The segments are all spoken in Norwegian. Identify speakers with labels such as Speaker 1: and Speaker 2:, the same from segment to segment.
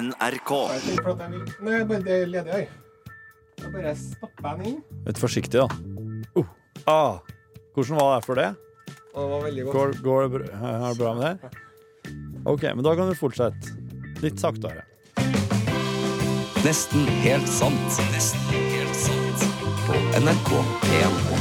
Speaker 1: NRK.
Speaker 2: Bare tenk på at jeg vil- Nei, jeg bare det er ledig her. Så bare stapper jeg den inn.
Speaker 3: Litt forsiktig, da. Uh, ah. Hvordan var det for det?
Speaker 2: Og det var veldig godt.
Speaker 3: Går, går det bra, er det bra med det? OK, men da kan du fortsette. Litt saktere.
Speaker 1: Nesten helt sant. Nesten helt sant. På NRK1.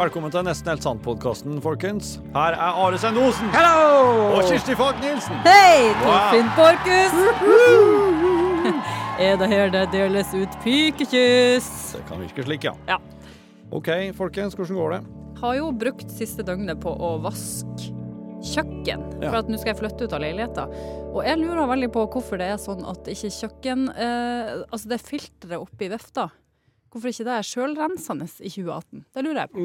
Speaker 3: Velkommen til Nesten helt sant-podkasten, folkens. Her er Are Sende Osen og Kirsti Falk Nilsen.
Speaker 4: Hei,
Speaker 3: Wow.
Speaker 4: Torfinn Borchhus! er det her det deles ut pikekyss?
Speaker 3: Det kan virke slik, ja.
Speaker 4: Ja.
Speaker 3: OK, folkens, hvordan går det?
Speaker 4: Har jo brukt siste døgnet på å vaske kjøkken,
Speaker 3: Ja.
Speaker 4: for at nå skal jeg flytte ut av leiligheten. Og jeg lurer veldig på hvorfor det er sånn at ikke kjøkken eh, Altså, det filteret oppi vifta, hvorfor ikke det er sjølrensende i 2018? Det lurer jeg på.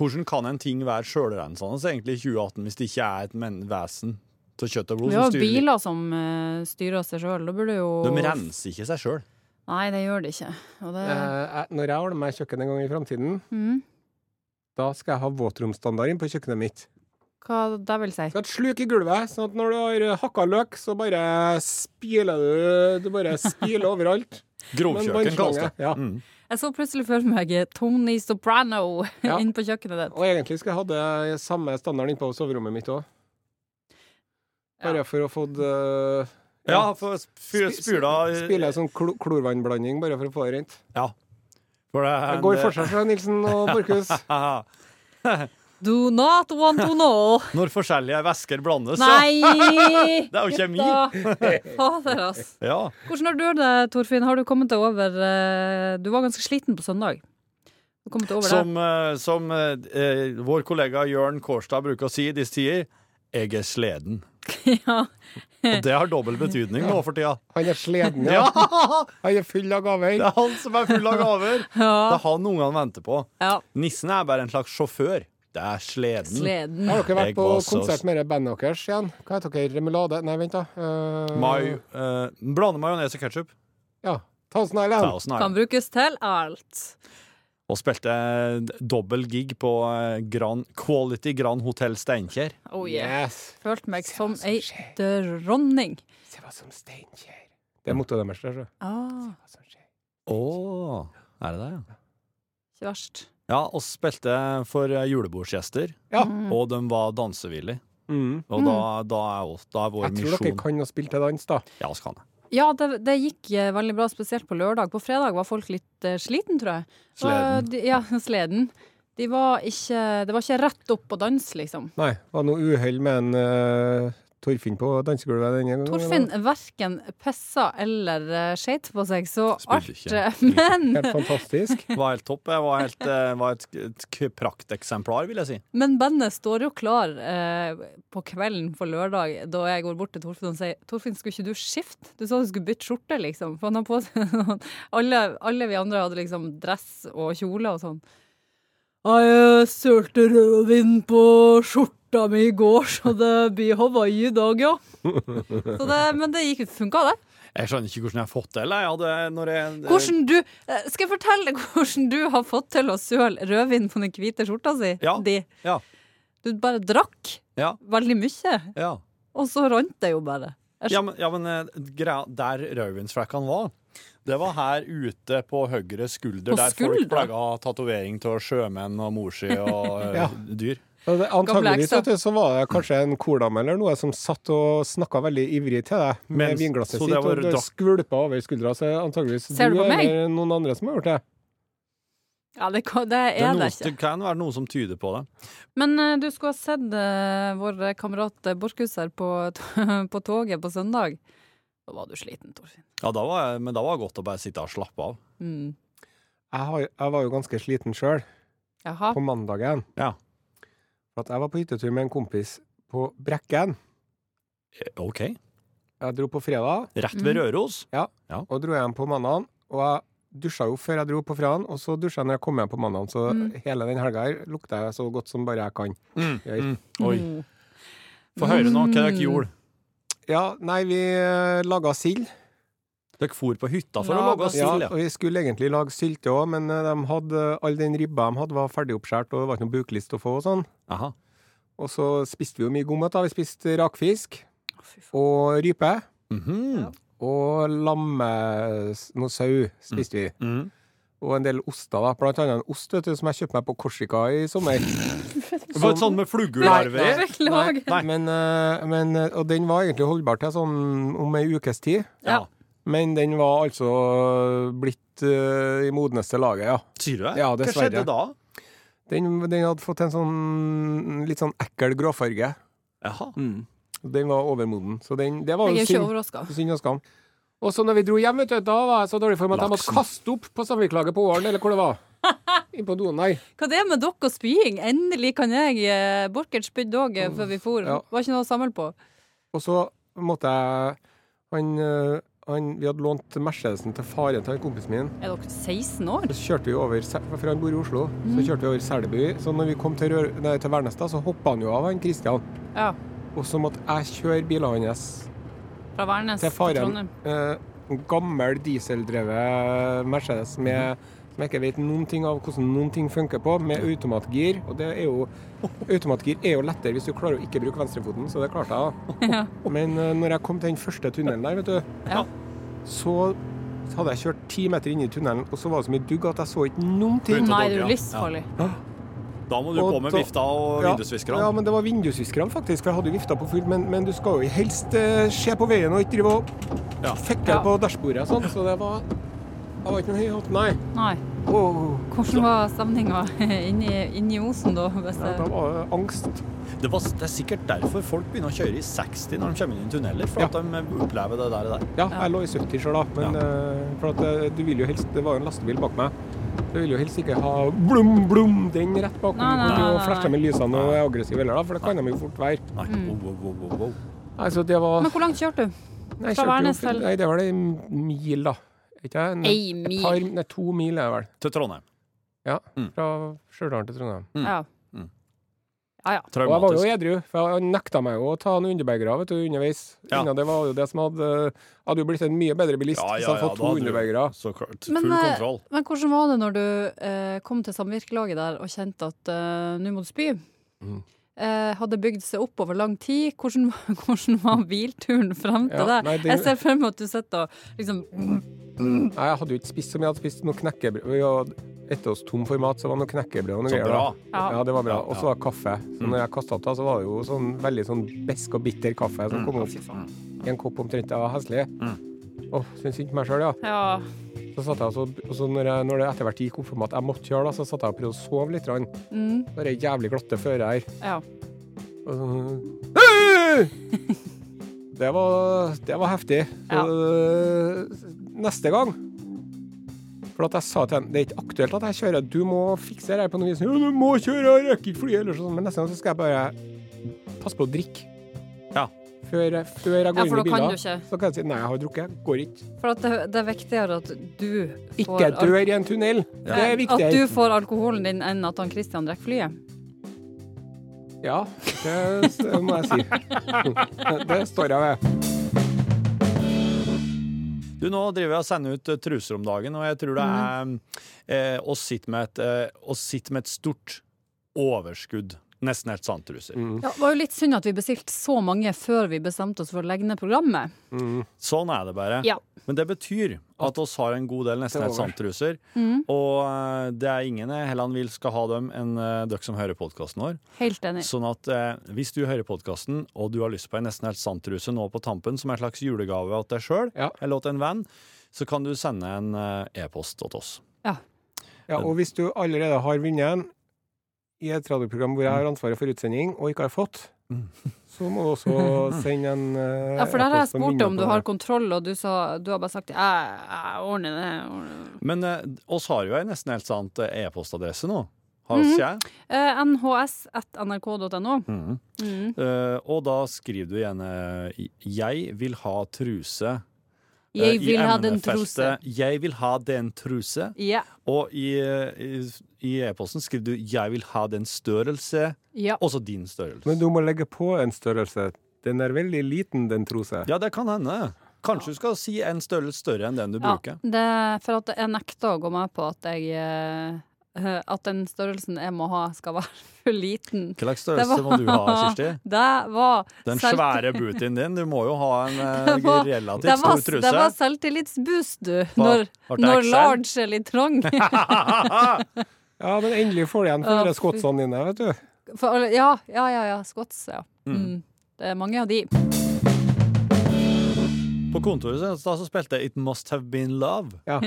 Speaker 3: Hvordan kan en ting være sjølrensende egentlig i 2018 hvis det ikke er et men vesen av kjøtt og blod
Speaker 4: Vi
Speaker 3: som
Speaker 4: har jo
Speaker 3: styrer?
Speaker 4: biler som eh, styrer seg sjøl, da burde jo
Speaker 3: De renser ikke seg sjøl.
Speaker 4: Nei, det gjør de ikke. Og det
Speaker 2: Eh, jeg- når jeg ordner meg kjøkken en gang i framtiden,
Speaker 4: mm,
Speaker 2: da skal jeg ha våtromsstandarden på kjøkkenet mitt.
Speaker 4: Hva det vil si?
Speaker 2: skal ha et sluk i gulvet, sånn at når du har hakka løk, så bare spiler du Du bare spiler overalt.
Speaker 3: Grovkjøkken kalles det.
Speaker 2: Ja.
Speaker 3: Mm.
Speaker 4: Jeg så plutselig for meg Tony Soprano
Speaker 2: Ja.
Speaker 4: inn på kjøkkenet ditt.
Speaker 2: Og egentlig skulle jeg hatt samme standard innpå soverommet mitt òg. Bare
Speaker 4: Ja.
Speaker 2: for å få det-
Speaker 3: Ja, for fyr- spyla
Speaker 2: Spiller jeg sånn klo klorvannblanding, bare for å få det rent.
Speaker 3: Ja. For det er
Speaker 2: Det
Speaker 3: en-
Speaker 2: går for seg fra Nilsen og Borchhus.
Speaker 3: Haha.
Speaker 4: Do not want to know!
Speaker 3: Når forskjellige væsker blandes, så
Speaker 4: Nei!
Speaker 3: Det er jo kjemi.
Speaker 4: Gutta. Fader, ass.
Speaker 3: Ja.
Speaker 4: Hvordan har du det, Torfinn? Har du kommet deg over eh, Du var ganske sliten på søndag. Du kom deg over det?
Speaker 3: Som, eh, som eh, eh, vår kollega Jørn Kårstad bruker å si i disse tider, jeg er sleden.
Speaker 4: Ja.
Speaker 3: Og det har dobbel betydning nå for tida.
Speaker 2: Han er sleden,
Speaker 3: Ja!
Speaker 2: ja. Han er full av
Speaker 3: Det
Speaker 2: gaver.
Speaker 3: er han som er full av gaver. Det
Speaker 4: Ja.
Speaker 3: er han ungene venter på.
Speaker 4: ja.
Speaker 3: Nissen er bare en slags sjåfør. Det er sleden.
Speaker 4: Sleden.
Speaker 2: Har dere vært
Speaker 3: Jeg
Speaker 2: på
Speaker 3: var så-
Speaker 2: konsert med det bandet deres igjen? Hva heter dere? Remulade? Nei, vent, da. Eh,
Speaker 3: Mai, eh, blande majones og ketsjup.
Speaker 2: Ja. Thousand Island.
Speaker 3: Thousand Island.
Speaker 4: Kan brukes til alt.
Speaker 3: Og spilte eh, dobbel gig på eh, Grand, Quality Grand Hotel Steinkjer.
Speaker 4: Oh yeah.
Speaker 2: Yes.
Speaker 4: Følte meg
Speaker 2: Se
Speaker 4: som
Speaker 2: hva som
Speaker 4: ei
Speaker 2: skjer.
Speaker 4: dronning.
Speaker 2: Se hva som steinkjer. Det er mottoet deres. altså. det, så.
Speaker 4: Ah,
Speaker 2: Hva som skjer.
Speaker 3: Oh, er det det, ja?
Speaker 4: ikke verst.
Speaker 3: Ja, og spilte for eh, julebordsgjester,
Speaker 2: Ja.
Speaker 4: Mm.
Speaker 3: og de var dansevillige.
Speaker 2: Mm.
Speaker 3: Og da, da, er, oss- da er vår
Speaker 2: Jeg tror dere
Speaker 3: misjon
Speaker 2: kan å spille til dans, da.
Speaker 3: Ja, oss kan det.
Speaker 4: Ja, det, det gikk eh, veldig bra, spesielt på lørdag. På fredag var folk litt uh, sliten, tror jeg. Det var-
Speaker 3: Sleden.
Speaker 4: de, ja, sleden. De var ikke, det var ikke rett opp og dans, liksom.
Speaker 2: Nei, var noe uhell med en eh, Torfinn på dansegulvet denne gangen.
Speaker 4: Torfinn verken pissa eller uh, skeit på seg, så
Speaker 3: Spilte
Speaker 4: alt
Speaker 3: ikke.
Speaker 4: eh, Men,
Speaker 2: Helt fantastisk.
Speaker 3: Det var helt topp. Det var, helt, eh, var et, et k- prakteksemplar, vil jeg si.
Speaker 4: men bandet står jo klar eh, på kvelden på lørdag, da jeg går bort til Torfinn og sier Torfinn, skulle ikke du skifte? Du sa du skulle bytte skjorte, liksom. For han har på seg noen alle, alle vi andre hadde liksom dress og kjole og sånn. Jeg sølte rødvin på skjorta mi i går, så det blir Hawaii i dag, ja. Så det, men det gikk, funka, det.
Speaker 3: Jeg skjønner ikke hvordan jeg har fått det. Eller? Jeg hadde, når jeg,
Speaker 4: Hvordan du, eh, skal jeg fortelle deg hvordan du har fått til å søle rødvin på den hvite skjorta si?
Speaker 3: Ja.
Speaker 4: Di?
Speaker 3: Ja.
Speaker 4: Du bare drakk
Speaker 3: Ja.
Speaker 4: veldig mye,
Speaker 3: Ja.
Speaker 4: og så rant det jo bare.
Speaker 3: Ja, men, ja, men eh, greia der rødvinsflekkene var, det var her ute på høyre skulder,
Speaker 4: På
Speaker 3: der
Speaker 4: skuldra?
Speaker 3: folk pleier å ha tatovering av sjømenn og morsi og eh,
Speaker 2: Ja.
Speaker 3: dyr.
Speaker 2: Og det- Antageligvis
Speaker 4: ekser.
Speaker 2: vet du, så var det kanskje en kordame eller noe som satt og snakka veldig ivrig til deg med
Speaker 3: Men-
Speaker 2: vinglasset
Speaker 3: så
Speaker 2: sitt,
Speaker 3: det var
Speaker 2: og du
Speaker 3: drakk-
Speaker 2: skvulpa over skuldra. Så antageligvis
Speaker 4: Ser du på meg?
Speaker 2: eller noen andre som har gjort det.
Speaker 4: Ja, det, kan- det
Speaker 3: Det, er
Speaker 4: er
Speaker 3: noe,
Speaker 4: det
Speaker 3: det
Speaker 4: ikke.
Speaker 3: kan være noe som tyder på det.
Speaker 4: Men eh, du skulle ha sett eh, vår kamerat eh, Borchhus her på, t- på toget på søndag. Da var du sliten, Torfinn.
Speaker 3: Ja, da var, jeg- Men da var det godt å bare sitte og slappe av.
Speaker 4: Mm.
Speaker 2: Jeg, har, jeg var jo ganske sliten sjøl
Speaker 4: Jaha.
Speaker 2: på mandagen.
Speaker 3: Ja.
Speaker 2: For at jeg var på hyttetur med en kompis på Brekken.
Speaker 3: Eh, OK.
Speaker 2: Jeg dro på fredag.
Speaker 3: Rett ved Røros.
Speaker 2: Og dro hjem på mandagen, og jeg dusja jo før jeg dro på fredagen, og så dusja jeg når jeg kom hjem på mandagen. Så
Speaker 4: Mm.
Speaker 2: hele den helga her lukta jeg så godt som bare jeg kan. Oi.
Speaker 3: Mm. Oi.
Speaker 4: Mm.
Speaker 3: Få høre nå hva dere gjorde.
Speaker 2: Ja, nei, vi eh, laga sild.
Speaker 3: Dere for på hytta for å
Speaker 4: Laga
Speaker 3: lage
Speaker 2: Ja,
Speaker 3: sild.
Speaker 2: og vi skulle egentlig lage sylte òg, men eh, de hadde, all den ribba de hadde, var ferdig oppskåret, og det var ikke noe buklist å få og sånn.
Speaker 3: Ja.
Speaker 2: Og så spiste vi jo mye god mat. da. Vi spiste rakfisk og rype.
Speaker 3: Mhm.
Speaker 2: Og lamme... Noe sau spiste vi.
Speaker 3: Mhm.
Speaker 2: Og en del oster, da. Blant annet en ost vet du, som jeg kjøpte meg på Korsika i sommer.
Speaker 3: Det var et sånt sånn med flugularver i.
Speaker 4: Beklager.
Speaker 3: Nei.
Speaker 2: Men, eh, men, eh, og den var egentlig holdbar til sånn om ei ukes tid.
Speaker 4: Ja.
Speaker 2: Men den var altså blitt eh, i modneste laget, ja.
Speaker 3: Sier du det?
Speaker 2: Ja,
Speaker 3: Hva
Speaker 2: dessverre.
Speaker 3: skjedde da?
Speaker 2: Den, den hadde fått en sånn litt sånn ekkel gråfarge.
Speaker 3: Jaha.
Speaker 2: Den var overmoden. Så den, det var jo
Speaker 4: Jeg er ikke
Speaker 2: synd.
Speaker 4: overraska.
Speaker 2: Synd og skam. Og så når vi dro hjem, vet du, da var jeg så dårlig form at jeg måtte
Speaker 3: Laksen.
Speaker 2: kaste opp på Sandviklaget på Ålen, eller hvor det var. Inn på doen der.
Speaker 4: Hva det er med dere og spying? Endelig kan jeg eh, Borchert spydde òg eh, før vi for.
Speaker 2: Ja.
Speaker 4: Var ikke noe å samle på.
Speaker 2: Og så måtte jeg han, eh, han, Vi hadde lånt Mercedesen til faren til han kompisen min.
Speaker 4: Er dere 16 år?
Speaker 2: Så kjørte vi over, Se- for han bor i Oslo,
Speaker 4: Mm.
Speaker 2: så kjørte vi over Selby. Så når vi kom til, Rør, nei, til Vernestad, så hoppa han jo av, han Kristian.
Speaker 4: Ja.
Speaker 2: Og så måtte jeg kjøre bilen hans
Speaker 4: Fra Værnes
Speaker 2: til
Speaker 4: til
Speaker 2: faren.
Speaker 4: Trondheim.
Speaker 2: Eh, en gammel dieseldrevet Mercedes
Speaker 4: Mhm.
Speaker 2: med, som jeg ikke vet noen ting av hvordan noen ting funker på, med automatgir. Og det er jo Automatgir er jo lettere hvis du klarer å ikke bruke venstrefoten, så det klarte jeg. da. Men eh, når jeg kom til den første tunnelen der, vet du,
Speaker 4: Ja.
Speaker 2: så hadde jeg kjørt ti meter inn i tunnelen, og så var det så mye dugg at jeg så ikke noen ting.
Speaker 4: Nei, det er
Speaker 3: Ja.
Speaker 4: jo livsfarlig.
Speaker 3: Da må du
Speaker 2: Og
Speaker 3: på med
Speaker 2: da-
Speaker 3: vifta og vindusviskerne.
Speaker 2: Ja, ja, men det var vindusviskerne, faktisk. For jeg hadde jo vifta på full, men, men du skal jo helst eh, se på veien og ikke drive og
Speaker 3: Ja.
Speaker 2: fikle
Speaker 4: Ja.
Speaker 2: på dashbordet og sånn. Så det var Det var ikke noe høy hatt, nei.
Speaker 4: Nei.
Speaker 2: Åh,
Speaker 4: Hvordan var stemninga inni, inni osen da? Hvis
Speaker 2: ja,
Speaker 4: det...
Speaker 2: da var det angst.
Speaker 3: Det, var, det er sikkert derfor folk begynner å kjøre i 60 når de kommer inn i tunneler, for
Speaker 2: Ja.
Speaker 3: at de opplever det der. og der.
Speaker 2: Ja, jeg lå i 70 sjøl, da. Men eh, for at eh, du vil jo helst Det var jo en lastebil bak meg. Du vil jo helst ikke ha blum, blum, den rett bakom
Speaker 4: Nei, nei,
Speaker 2: borti
Speaker 4: nei,
Speaker 2: og
Speaker 4: nei,
Speaker 2: flashe med lysene og er aggressiv heller, da, for det kan de jo fort være.
Speaker 3: Nei, wow, wow, wow, wow, wow.
Speaker 2: Nei, så det var
Speaker 4: Men hvor langt kjørte du?
Speaker 2: Nei, kjørte
Speaker 4: Fra
Speaker 2: jo-
Speaker 4: Værnes til-
Speaker 2: Nei, det var det en mil, da. Ikke det? En-
Speaker 4: Ei
Speaker 2: et
Speaker 4: mil.
Speaker 2: Par, nei, to mil er det vel.
Speaker 3: Til Trondheim.
Speaker 2: Ja,
Speaker 3: Mm.
Speaker 2: fra Stjørdal til Trondheim.
Speaker 4: Ja.
Speaker 3: Mm.
Speaker 4: Ja, ja.
Speaker 2: Og jeg var jo
Speaker 3: Traumatisk.
Speaker 2: edru, for han nekta meg jo å ta noen underbergere vet du, underveis.
Speaker 3: Ja.
Speaker 2: Innan det var jo det som hadde Jeg hadde jo blitt en mye bedre bilist
Speaker 3: Ja,
Speaker 2: hvis
Speaker 3: ja,
Speaker 2: jeg hadde
Speaker 3: ja,
Speaker 2: fått
Speaker 3: da
Speaker 2: to
Speaker 3: hadde du-
Speaker 2: underbergere.
Speaker 3: Så klart. Full
Speaker 4: Men, eh,
Speaker 3: kontroll.
Speaker 4: Men hvordan var det når du eh, kom til samvirkelaget der og kjente at eh, nå må du spy?
Speaker 3: Mm.
Speaker 2: Mhm.
Speaker 4: Eh, hadde bygd seg opp over lang tid. Hvordan, hvordan var bilturen frem til
Speaker 2: Ja,
Speaker 4: der?
Speaker 2: nei, det-
Speaker 4: Jeg ser for meg at du sitter og liksom
Speaker 2: Nei, jeg hadde jo ikke spist så mye, jeg hadde spist noe knekkebrød. Vi hadde etter oss tom for mat, så var det noe knekkebrød og noe
Speaker 3: Så
Speaker 2: greier.
Speaker 3: bra.
Speaker 2: da.
Speaker 4: Ja.
Speaker 2: Ja, det var bra.
Speaker 3: Ja,
Speaker 2: Og så
Speaker 3: ja. Mm.
Speaker 2: var det kaffe. Så når jeg kasta opp, da, så var det jo sånn veldig sånn besk og bitter kaffe
Speaker 3: Mm.
Speaker 2: som kom opp i en kopp omtrent av heslig. Åh, syns ikke meg sjøl, ja.
Speaker 4: Ja.
Speaker 2: Så satt jeg også, og så når, jeg, når det etter hvert gikk opp for meg at jeg måtte gjøre det, så satt jeg og prøvde å sove litt. grann.
Speaker 4: Mm,
Speaker 2: Det er jævlig glatte føre her.
Speaker 4: ja.
Speaker 2: Og så- Hei! Det var, det var heftig. Så, Neste gang For at jeg sa til henne det er ikke aktuelt at jeg kjører, du må fikse det her på noe vis. Ja, du må kjøre, jeg rekker ikke flyet, eller sånn. Men neste gang så skal jeg bare passe på å drikke.
Speaker 3: Ja.
Speaker 2: Før, jeg- før jeg går
Speaker 4: ja,
Speaker 2: inn
Speaker 4: for
Speaker 2: i
Speaker 4: da kan du
Speaker 2: bilen.
Speaker 4: ikke.
Speaker 2: Så kan jeg si nei, jeg har drukket. Går ikke.
Speaker 4: For at det, det er viktigere at du får
Speaker 2: Ikke
Speaker 4: al-
Speaker 2: dør i en tunnel. Det er
Speaker 4: At du
Speaker 2: viktigere.
Speaker 4: får alkoholen din enn at han Christian drikker flyet.
Speaker 2: Ja, det, det må jeg si. Det står jeg ved.
Speaker 3: Du, nå driver jeg og sender ut eh, truser om dagen, og jeg tror det er
Speaker 2: Mhm.
Speaker 3: eh, oss sitter med, et, eh, oss sitter med et stort overskudd. Nesten helt sant truser.
Speaker 2: Mhm.
Speaker 4: Ja, det var jo litt synd at vi bestilte så mange før vi bestemte oss for å legge ned programmet.
Speaker 3: Sånn er det bare.
Speaker 4: Ja.
Speaker 3: Men det betyr at oss har en god del nesten
Speaker 2: Det er Mhm.
Speaker 3: helt sant truser. Og eh, det er ingen jeg heller vil skal ha dem enn eh, dere som hører podkasten vår.
Speaker 4: Helt enig.
Speaker 3: Sånn at eh, hvis du hører podkasten og du har lyst på en nesten helt sant-truse nå på tampen, som en slags julegave til deg sjøl
Speaker 2: Ja.
Speaker 3: eller til en venn, så kan du sende en eh, e-post til oss.
Speaker 4: Ja.
Speaker 2: Ja, og hvis du allerede har vunnet en i et radioprogram hvor jeg har ansvaret for utsending, og ikke har fått, så må du også sende en eh,
Speaker 4: Ja, for der har jeg
Speaker 2: e-post som
Speaker 4: spurt
Speaker 2: minner
Speaker 4: deg om
Speaker 2: på
Speaker 4: du
Speaker 2: det.
Speaker 4: har kontroll, og du, sa, du har bare sagt «Jeg- jeg ordner det. jeg ordner det».
Speaker 3: Men eh, oss har jo ei nesten helt sant eh, e-postadresse nå. Har oss jeg.
Speaker 4: Eh, nhs.nrk.no.
Speaker 3: Eh, og da skriver du gjerne 'Jeg vil ha truse'. eh,
Speaker 4: Jeg
Speaker 3: i
Speaker 4: vil ha den truse.
Speaker 3: emnefeltet 'Jeg vil ha den truse'.
Speaker 4: Ja.
Speaker 3: Og i eh, i- i e-posten skriver du 'Jeg vil ha den størrelse',
Speaker 4: ja.
Speaker 3: også din størrelse.
Speaker 2: Men du må legge på en størrelse. Den er veldig liten, den trose.
Speaker 3: Ja, det kan hende. Kanskje du skal si en størrelse større enn den du
Speaker 4: ja.
Speaker 3: bruker.
Speaker 4: Det, for at jeg nekter å gå med på at jeg eh, eh, at den størrelsen jeg må ha, skal være for liten.
Speaker 3: Hva slags
Speaker 4: Det
Speaker 3: størrelse må du ha, Kirsti?
Speaker 4: Det var
Speaker 3: Den
Speaker 4: selv-
Speaker 3: svære bootien din. Du må jo ha en eh,
Speaker 4: Det var- det
Speaker 3: relativt
Speaker 4: var,
Speaker 3: stor truse.
Speaker 4: det var selvtillitsboost, du.
Speaker 3: Var-
Speaker 4: Når,
Speaker 3: var det
Speaker 4: når
Speaker 3: XL?
Speaker 4: large er litt trang.
Speaker 2: Ja, men endelig får du igjen
Speaker 4: Ja,
Speaker 2: for de
Speaker 4: fy-
Speaker 2: skotsene dine, vet du.
Speaker 4: For, alle- ja, ja, ja, ja. Scots, ja. Mm. Det er mange av de.
Speaker 3: På kontoret så, da så spilte jeg It Must Have Been Love
Speaker 4: Ja.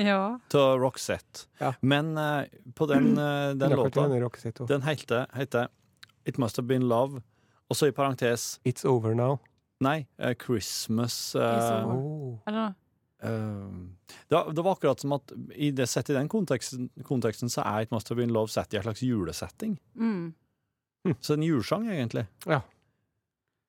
Speaker 3: til Roxette.
Speaker 2: Ja. Mm.
Speaker 3: Men eh, på den, eh, den
Speaker 2: Dere
Speaker 3: låta
Speaker 2: trener dere sitt også.
Speaker 3: Den heter, heter It Must Have Been Love, og så i parentes
Speaker 2: It's over now.
Speaker 3: Nei, eh, Christmas eh,
Speaker 4: Is over.
Speaker 2: Oh.
Speaker 4: Eller,
Speaker 3: eh, det, var- det var akkurat som at i det, sett i den konteksten, konteksten så er It Must Have Been Love sett i en slags julesetting.
Speaker 4: mm.
Speaker 3: Så en julesang, egentlig.
Speaker 2: Ja.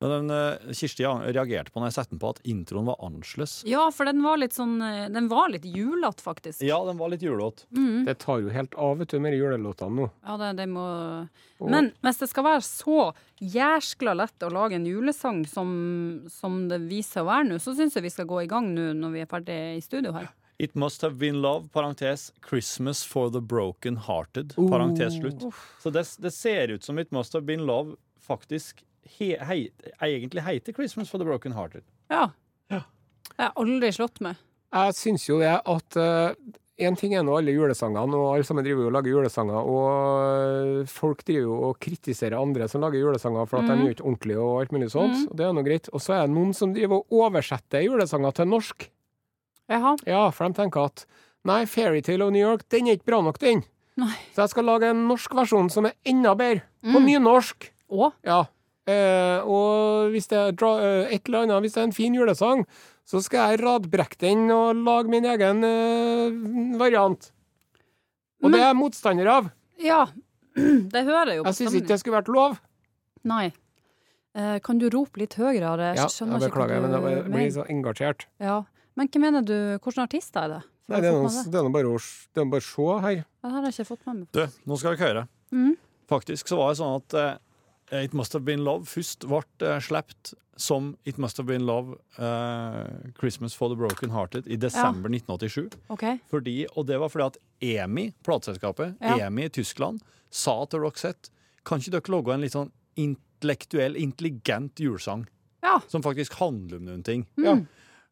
Speaker 3: Men den, eh, Kirsti an- reagerte på når jeg satte den på at introen var annerledes.
Speaker 4: ja, for den var litt sånn eh, Den var litt julete, faktisk.
Speaker 3: Ja, den var litt julete.
Speaker 4: Mm.
Speaker 2: Det tar jo helt av, vet du, med de julelåtene nå.
Speaker 4: Ja, det, det må
Speaker 2: Og-
Speaker 4: Men hvis det skal være så jæskla lett å lage en julesang som, som det viser seg å være nå, så syns jeg vi skal gå i gang nå når vi er ferdig i studio her.
Speaker 3: It Must Have Been Love, parentes Christmas for the Broken Hearted,
Speaker 2: Oh.
Speaker 3: parentes slutt. Så det, det ser ut som It Must Have Been Love faktisk he, hei, egentlig heter Christmas for the Broken Hearted.
Speaker 4: Ja. Jeg har aldri slått meg.
Speaker 2: Jeg syns jo det at én ting er nå alle julesangene, og alle sammen driver jo og lager julesanger, og eh, folk driver jo og kritiserer andre som lager julesanger for at de gjør ikke ordentlig og alt mulig sånt, og det er nå greit. Og så er det noen som driver og oversetter julesanger til norsk.
Speaker 4: Jaha.
Speaker 2: Ja, for de tenker at nei, Fairytale of New York, den er ikke bra nok, den.
Speaker 4: Nei.
Speaker 2: Så jeg skal lage en norsk versjon som er enda bedre, på nynorsk.
Speaker 4: Å?
Speaker 2: Ja. Eh, og hvis det er dra, eh, et eller annet, hvis det er en fin julesang, så skal jeg radbrekke den og lage min egen eh, variant. Og det er jeg motstander av.
Speaker 4: Ja. Det hører jeg jo på
Speaker 2: Jeg syns ikke
Speaker 4: stemningen.
Speaker 2: det skulle vært lov.
Speaker 4: Nei. Eh, kan du rope litt høyere? Are?
Speaker 2: Ja,
Speaker 4: Jeg skjønner
Speaker 2: jeg beklager,
Speaker 4: ikke
Speaker 2: men
Speaker 4: hva du
Speaker 2: jeg blir så engasjert.
Speaker 4: Ja. Men hva mener du? Hvilken artist er det? For
Speaker 2: Nei, det
Speaker 4: jeg
Speaker 2: er
Speaker 4: har
Speaker 2: noe-
Speaker 4: fått med meg
Speaker 2: det er nå bare å s- det er bare å se her.
Speaker 4: Det Det har jeg ikke fått med meg.
Speaker 3: Du, nå skal dere høre.
Speaker 4: Mhm.
Speaker 3: Faktisk så var det sånn at eh, It Must Have Been Love først ble uh, sluppet som It Must Have Been Love eh, Christmas for the Broken Hearted i desember 1987.
Speaker 4: OK.
Speaker 3: Fordi, og det var fordi at EMI, plateselskapet,
Speaker 4: Ja.
Speaker 3: EMI i Tyskland, sa til Roxette Kan ikke dere lage en litt sånn intellektuell, intelligent julesang
Speaker 4: Ja. Mm.
Speaker 3: som faktisk handler om noen ting?
Speaker 2: Ja.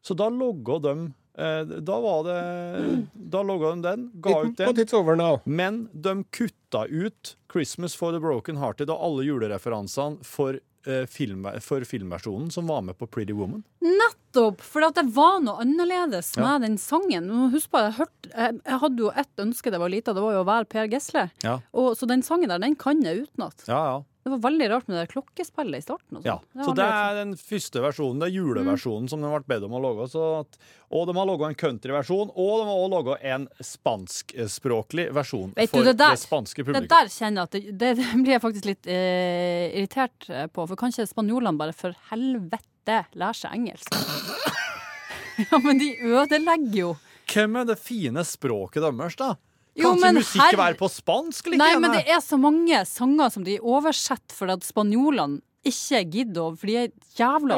Speaker 3: Så da logga de eh, Da var det Da logga de den, ga ut
Speaker 2: It, but
Speaker 3: den.
Speaker 2: it's over now.
Speaker 3: Men de kutta ut 'Christmas for the Broken Hearted' og alle julereferansene for, eh, film, for filmversjonen som var med på 'Pretty Woman'.
Speaker 4: Nettopp! For at det var noe annerledes med
Speaker 3: Ja.
Speaker 4: den sangen. Nå Husk på, jeg, hørte, jeg, jeg hadde jo ett ønske da jeg var lita, det var jo å være Per Gessle.
Speaker 3: Ja.
Speaker 4: Og, så den sangen der, den kan jeg utenat.
Speaker 3: Ja, ja.
Speaker 4: Det var veldig rart med det der klokkespillet i starten. Og
Speaker 3: Ja,
Speaker 4: sånn. var Mm.
Speaker 3: så det
Speaker 4: veldig rart.
Speaker 3: er den første versjonen, det er juleversjonen som de ble bedt om å lage. Så at, og de har laga en countryversjon, og de har også laga en spanskspråklig versjon
Speaker 4: Vet du,
Speaker 3: for det,
Speaker 4: det der-
Speaker 3: spanske
Speaker 4: det
Speaker 3: publikum.
Speaker 4: der kjenner jeg at det, det, det blir jeg faktisk litt eh, irritert eh, på. For kanskje spanjolene bare for helvete lærer seg engelsk. ja, men de ødelegger jo.
Speaker 3: Hvem er det fine språket deres, da? Kan
Speaker 4: Jo,
Speaker 3: ikke
Speaker 4: men
Speaker 3: musikk
Speaker 4: herre-
Speaker 3: være på spansk? Like,
Speaker 4: Nei, men det er så mange sanger som de oversetter for at spanjolene ikke gidder å For de er jævla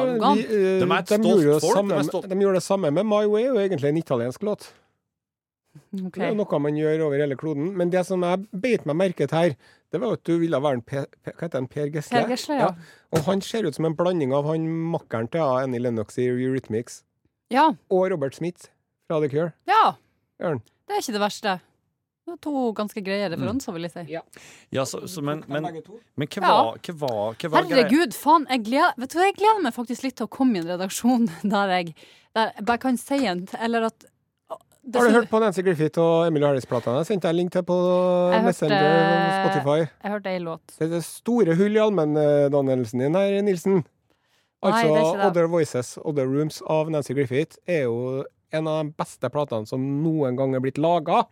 Speaker 2: Vi,
Speaker 4: arrogante.
Speaker 2: eh,
Speaker 3: De er et
Speaker 2: de
Speaker 3: stolt
Speaker 2: gjorde jo
Speaker 3: folk, de er
Speaker 2: samme-
Speaker 3: stolt.
Speaker 2: De gjorde det samme med My Way, og egentlig en italiensk låt.
Speaker 4: Ok.
Speaker 2: Det er noe man gjør over hele kloden. Men det som jeg beit meg merket her, det var jo at du ville være en P P hva heter han, Per Gessle.
Speaker 4: Per Gessle, ja.
Speaker 2: Og han ser ut som en blanding av han makkeren til Annie Lennox i Eurythmics
Speaker 4: Ja.
Speaker 2: og Robert Smith fra The Cure.
Speaker 4: ja.
Speaker 2: Ørn.
Speaker 4: Det er ikke det verste. Det er to ganske greie referanser, vil jeg si.
Speaker 3: ja, så, så, men, men, men hva
Speaker 4: Ja.
Speaker 3: var, hva var, hva var greia?
Speaker 4: Herregud, faen. Jeg gleder, vet du, hva, jeg gleder meg faktisk litt til å komme i en redaksjon der jeg, der jeg bare kan si en Eller at det,
Speaker 2: Har du hørt på Nancy Griffith og Emily Harris-platene? Jeg sendte deg en link til på
Speaker 4: Jeg hørte-
Speaker 2: Messenger og Spotify.
Speaker 4: Jeg hørte ei låt.
Speaker 2: Det er det store hull i allmenndannelsen din her, Nilsen.
Speaker 4: Nei, det er
Speaker 2: Altså
Speaker 4: ikke det.
Speaker 2: Other Voices, Other Rooms av Nancy Griffith er jo en av de beste platene som noen gang er blitt laga.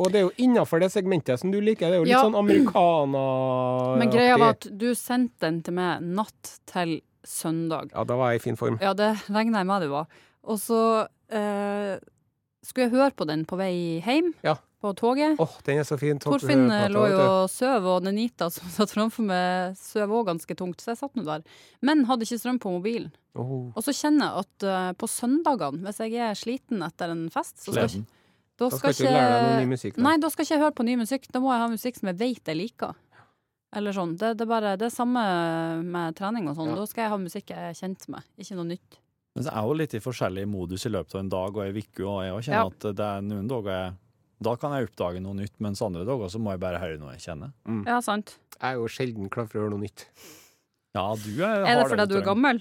Speaker 2: Og det er jo innafor det segmentet som du liker. Det er jo litt
Speaker 4: Ja.
Speaker 2: sånn americana-aktig.
Speaker 4: Men greia var at du sendte den til meg natt til søndag.
Speaker 2: Ja, da var jeg i fin form.
Speaker 4: Ja, det regner jeg med du var. Og så eh, skulle jeg høre på den på vei hjem,
Speaker 2: Ja.
Speaker 4: på toget.
Speaker 2: Åh, den er så fin. Tor-
Speaker 4: Torfinn eh,
Speaker 2: plata,
Speaker 4: lå
Speaker 2: vet
Speaker 4: jo
Speaker 2: du.
Speaker 4: og søv, og Nenita som satt framfor meg, søv òg ganske tungt, så jeg satt nå der. Men hadde ikke strøm på mobilen.
Speaker 2: Åh.
Speaker 4: Og så kjenner jeg at eh, på søndagene, hvis jeg er sliten etter en fest, så skal jeg,
Speaker 3: Sliten.
Speaker 4: Da
Speaker 2: Da skal ikke du lære deg noe ny musikk. da.
Speaker 4: Nei, da skal ikke jeg høre på ny musikk. Da må jeg ha musikk som jeg vet jeg liker. Eller sånn. Det, det er bare det er samme med trening og sånn.
Speaker 2: Ja.
Speaker 4: Da skal jeg ha musikk jeg er kjent med, ikke noe nytt.
Speaker 3: Men så er jeg jo litt i forskjellig modus i løpet av en dag og ei uke, og jeg også
Speaker 4: Ja.
Speaker 3: kjenner at det er noen dager jeg da kan jeg oppdage noe nytt, mens andre dager så må jeg bare høre noe jeg kjenner.
Speaker 4: Ja, sant.
Speaker 2: Jeg er jo sjelden klar for å høre noe nytt.
Speaker 3: Ja, du er,
Speaker 4: Er det
Speaker 3: har
Speaker 4: fordi du er
Speaker 3: utdrag.
Speaker 4: gammel?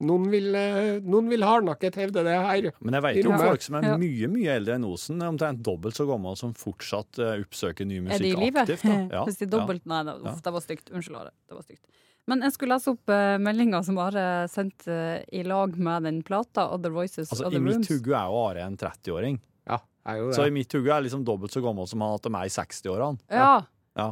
Speaker 2: Noen vil, eh, noen vil hardnakket hevde det her.
Speaker 3: Men jeg vet
Speaker 2: I
Speaker 3: om
Speaker 2: rommet.
Speaker 3: folk som er
Speaker 4: Ja.
Speaker 3: mye mye eldre enn Osen, omtrent dobbelt så gammel, som fortsatt eh, oppsøker ny
Speaker 4: Er de i
Speaker 3: musikk
Speaker 4: live?
Speaker 3: aktivt. Da. Ja,
Speaker 4: Hvis de
Speaker 3: ja.
Speaker 4: dobbelt Nei, da, uff,
Speaker 3: Ja.
Speaker 4: det var stygt. Unnskyld, Are. Det var stygt. Men jeg skulle lese opp uh, meldinga som Are sendte eh, i lag med den plata, Other Voices,
Speaker 3: Altså,
Speaker 4: Other
Speaker 3: I mitt
Speaker 4: Rooms.
Speaker 3: hode er jo Are en 30-åring,
Speaker 2: Ja, jeg er jo
Speaker 3: så i
Speaker 2: det.
Speaker 3: mitt hode er jeg liksom dobbelt så gammel som han at de er i 60-årene.
Speaker 4: Ja.
Speaker 3: Ja.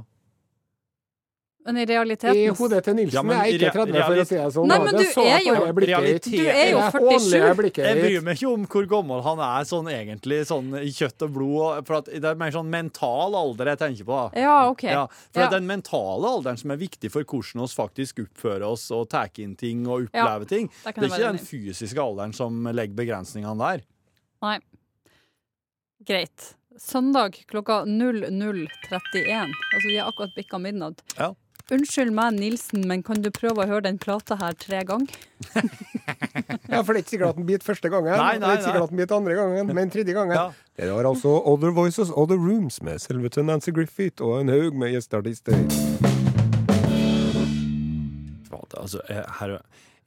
Speaker 4: Men i
Speaker 2: I
Speaker 4: realiteten
Speaker 2: hodet til Nilsen
Speaker 3: Ja, men
Speaker 2: er jeg ikke 30,
Speaker 3: rea-
Speaker 2: for å si det sånn.
Speaker 4: Nei,
Speaker 2: da.
Speaker 4: men
Speaker 2: Det
Speaker 4: du
Speaker 2: så jeg
Speaker 4: er
Speaker 2: på
Speaker 4: jo-
Speaker 2: det blikket ditt.
Speaker 3: Realiteten-
Speaker 4: Du er jo
Speaker 2: Det
Speaker 4: 47!
Speaker 2: hånlige blikket
Speaker 3: Jeg
Speaker 2: ditt.
Speaker 3: bryr meg ikke om hvor gammel han er sånn egentlig, sånn i kjøtt og blod, for at det er mer sånn mental alder jeg tenker på. da.
Speaker 4: Ja, OK.
Speaker 3: Ja, for
Speaker 4: Ja.
Speaker 3: det er den mentale alderen som er viktig for hvordan vi faktisk oppfører oss og tar inn ting og
Speaker 4: Ja,
Speaker 3: opplever ting.
Speaker 4: der kan
Speaker 3: Det er ikke
Speaker 4: jeg være
Speaker 3: den
Speaker 4: enig.
Speaker 3: fysiske alderen som legger begrensningene der.
Speaker 4: Nei. Greit. Søndag klokka 00.31. Altså, vi har akkurat bikka midnatt.
Speaker 3: Ja.
Speaker 4: Unnskyld meg, Nilsen, men kan du prøve å høre den plata her tre ganger?
Speaker 2: Ja, for det er ikke sikkert at den biter første gangen.
Speaker 3: Nei,
Speaker 2: det
Speaker 3: nei,
Speaker 2: er ikke sikkert at den biter andre gangen, men tredje gangen.
Speaker 3: Ja.
Speaker 2: Det var altså Other Voices, Other Rooms med selvete Nancy Griffith og en haug med gjesteartister.
Speaker 3: Fader, Altså, jeg, her,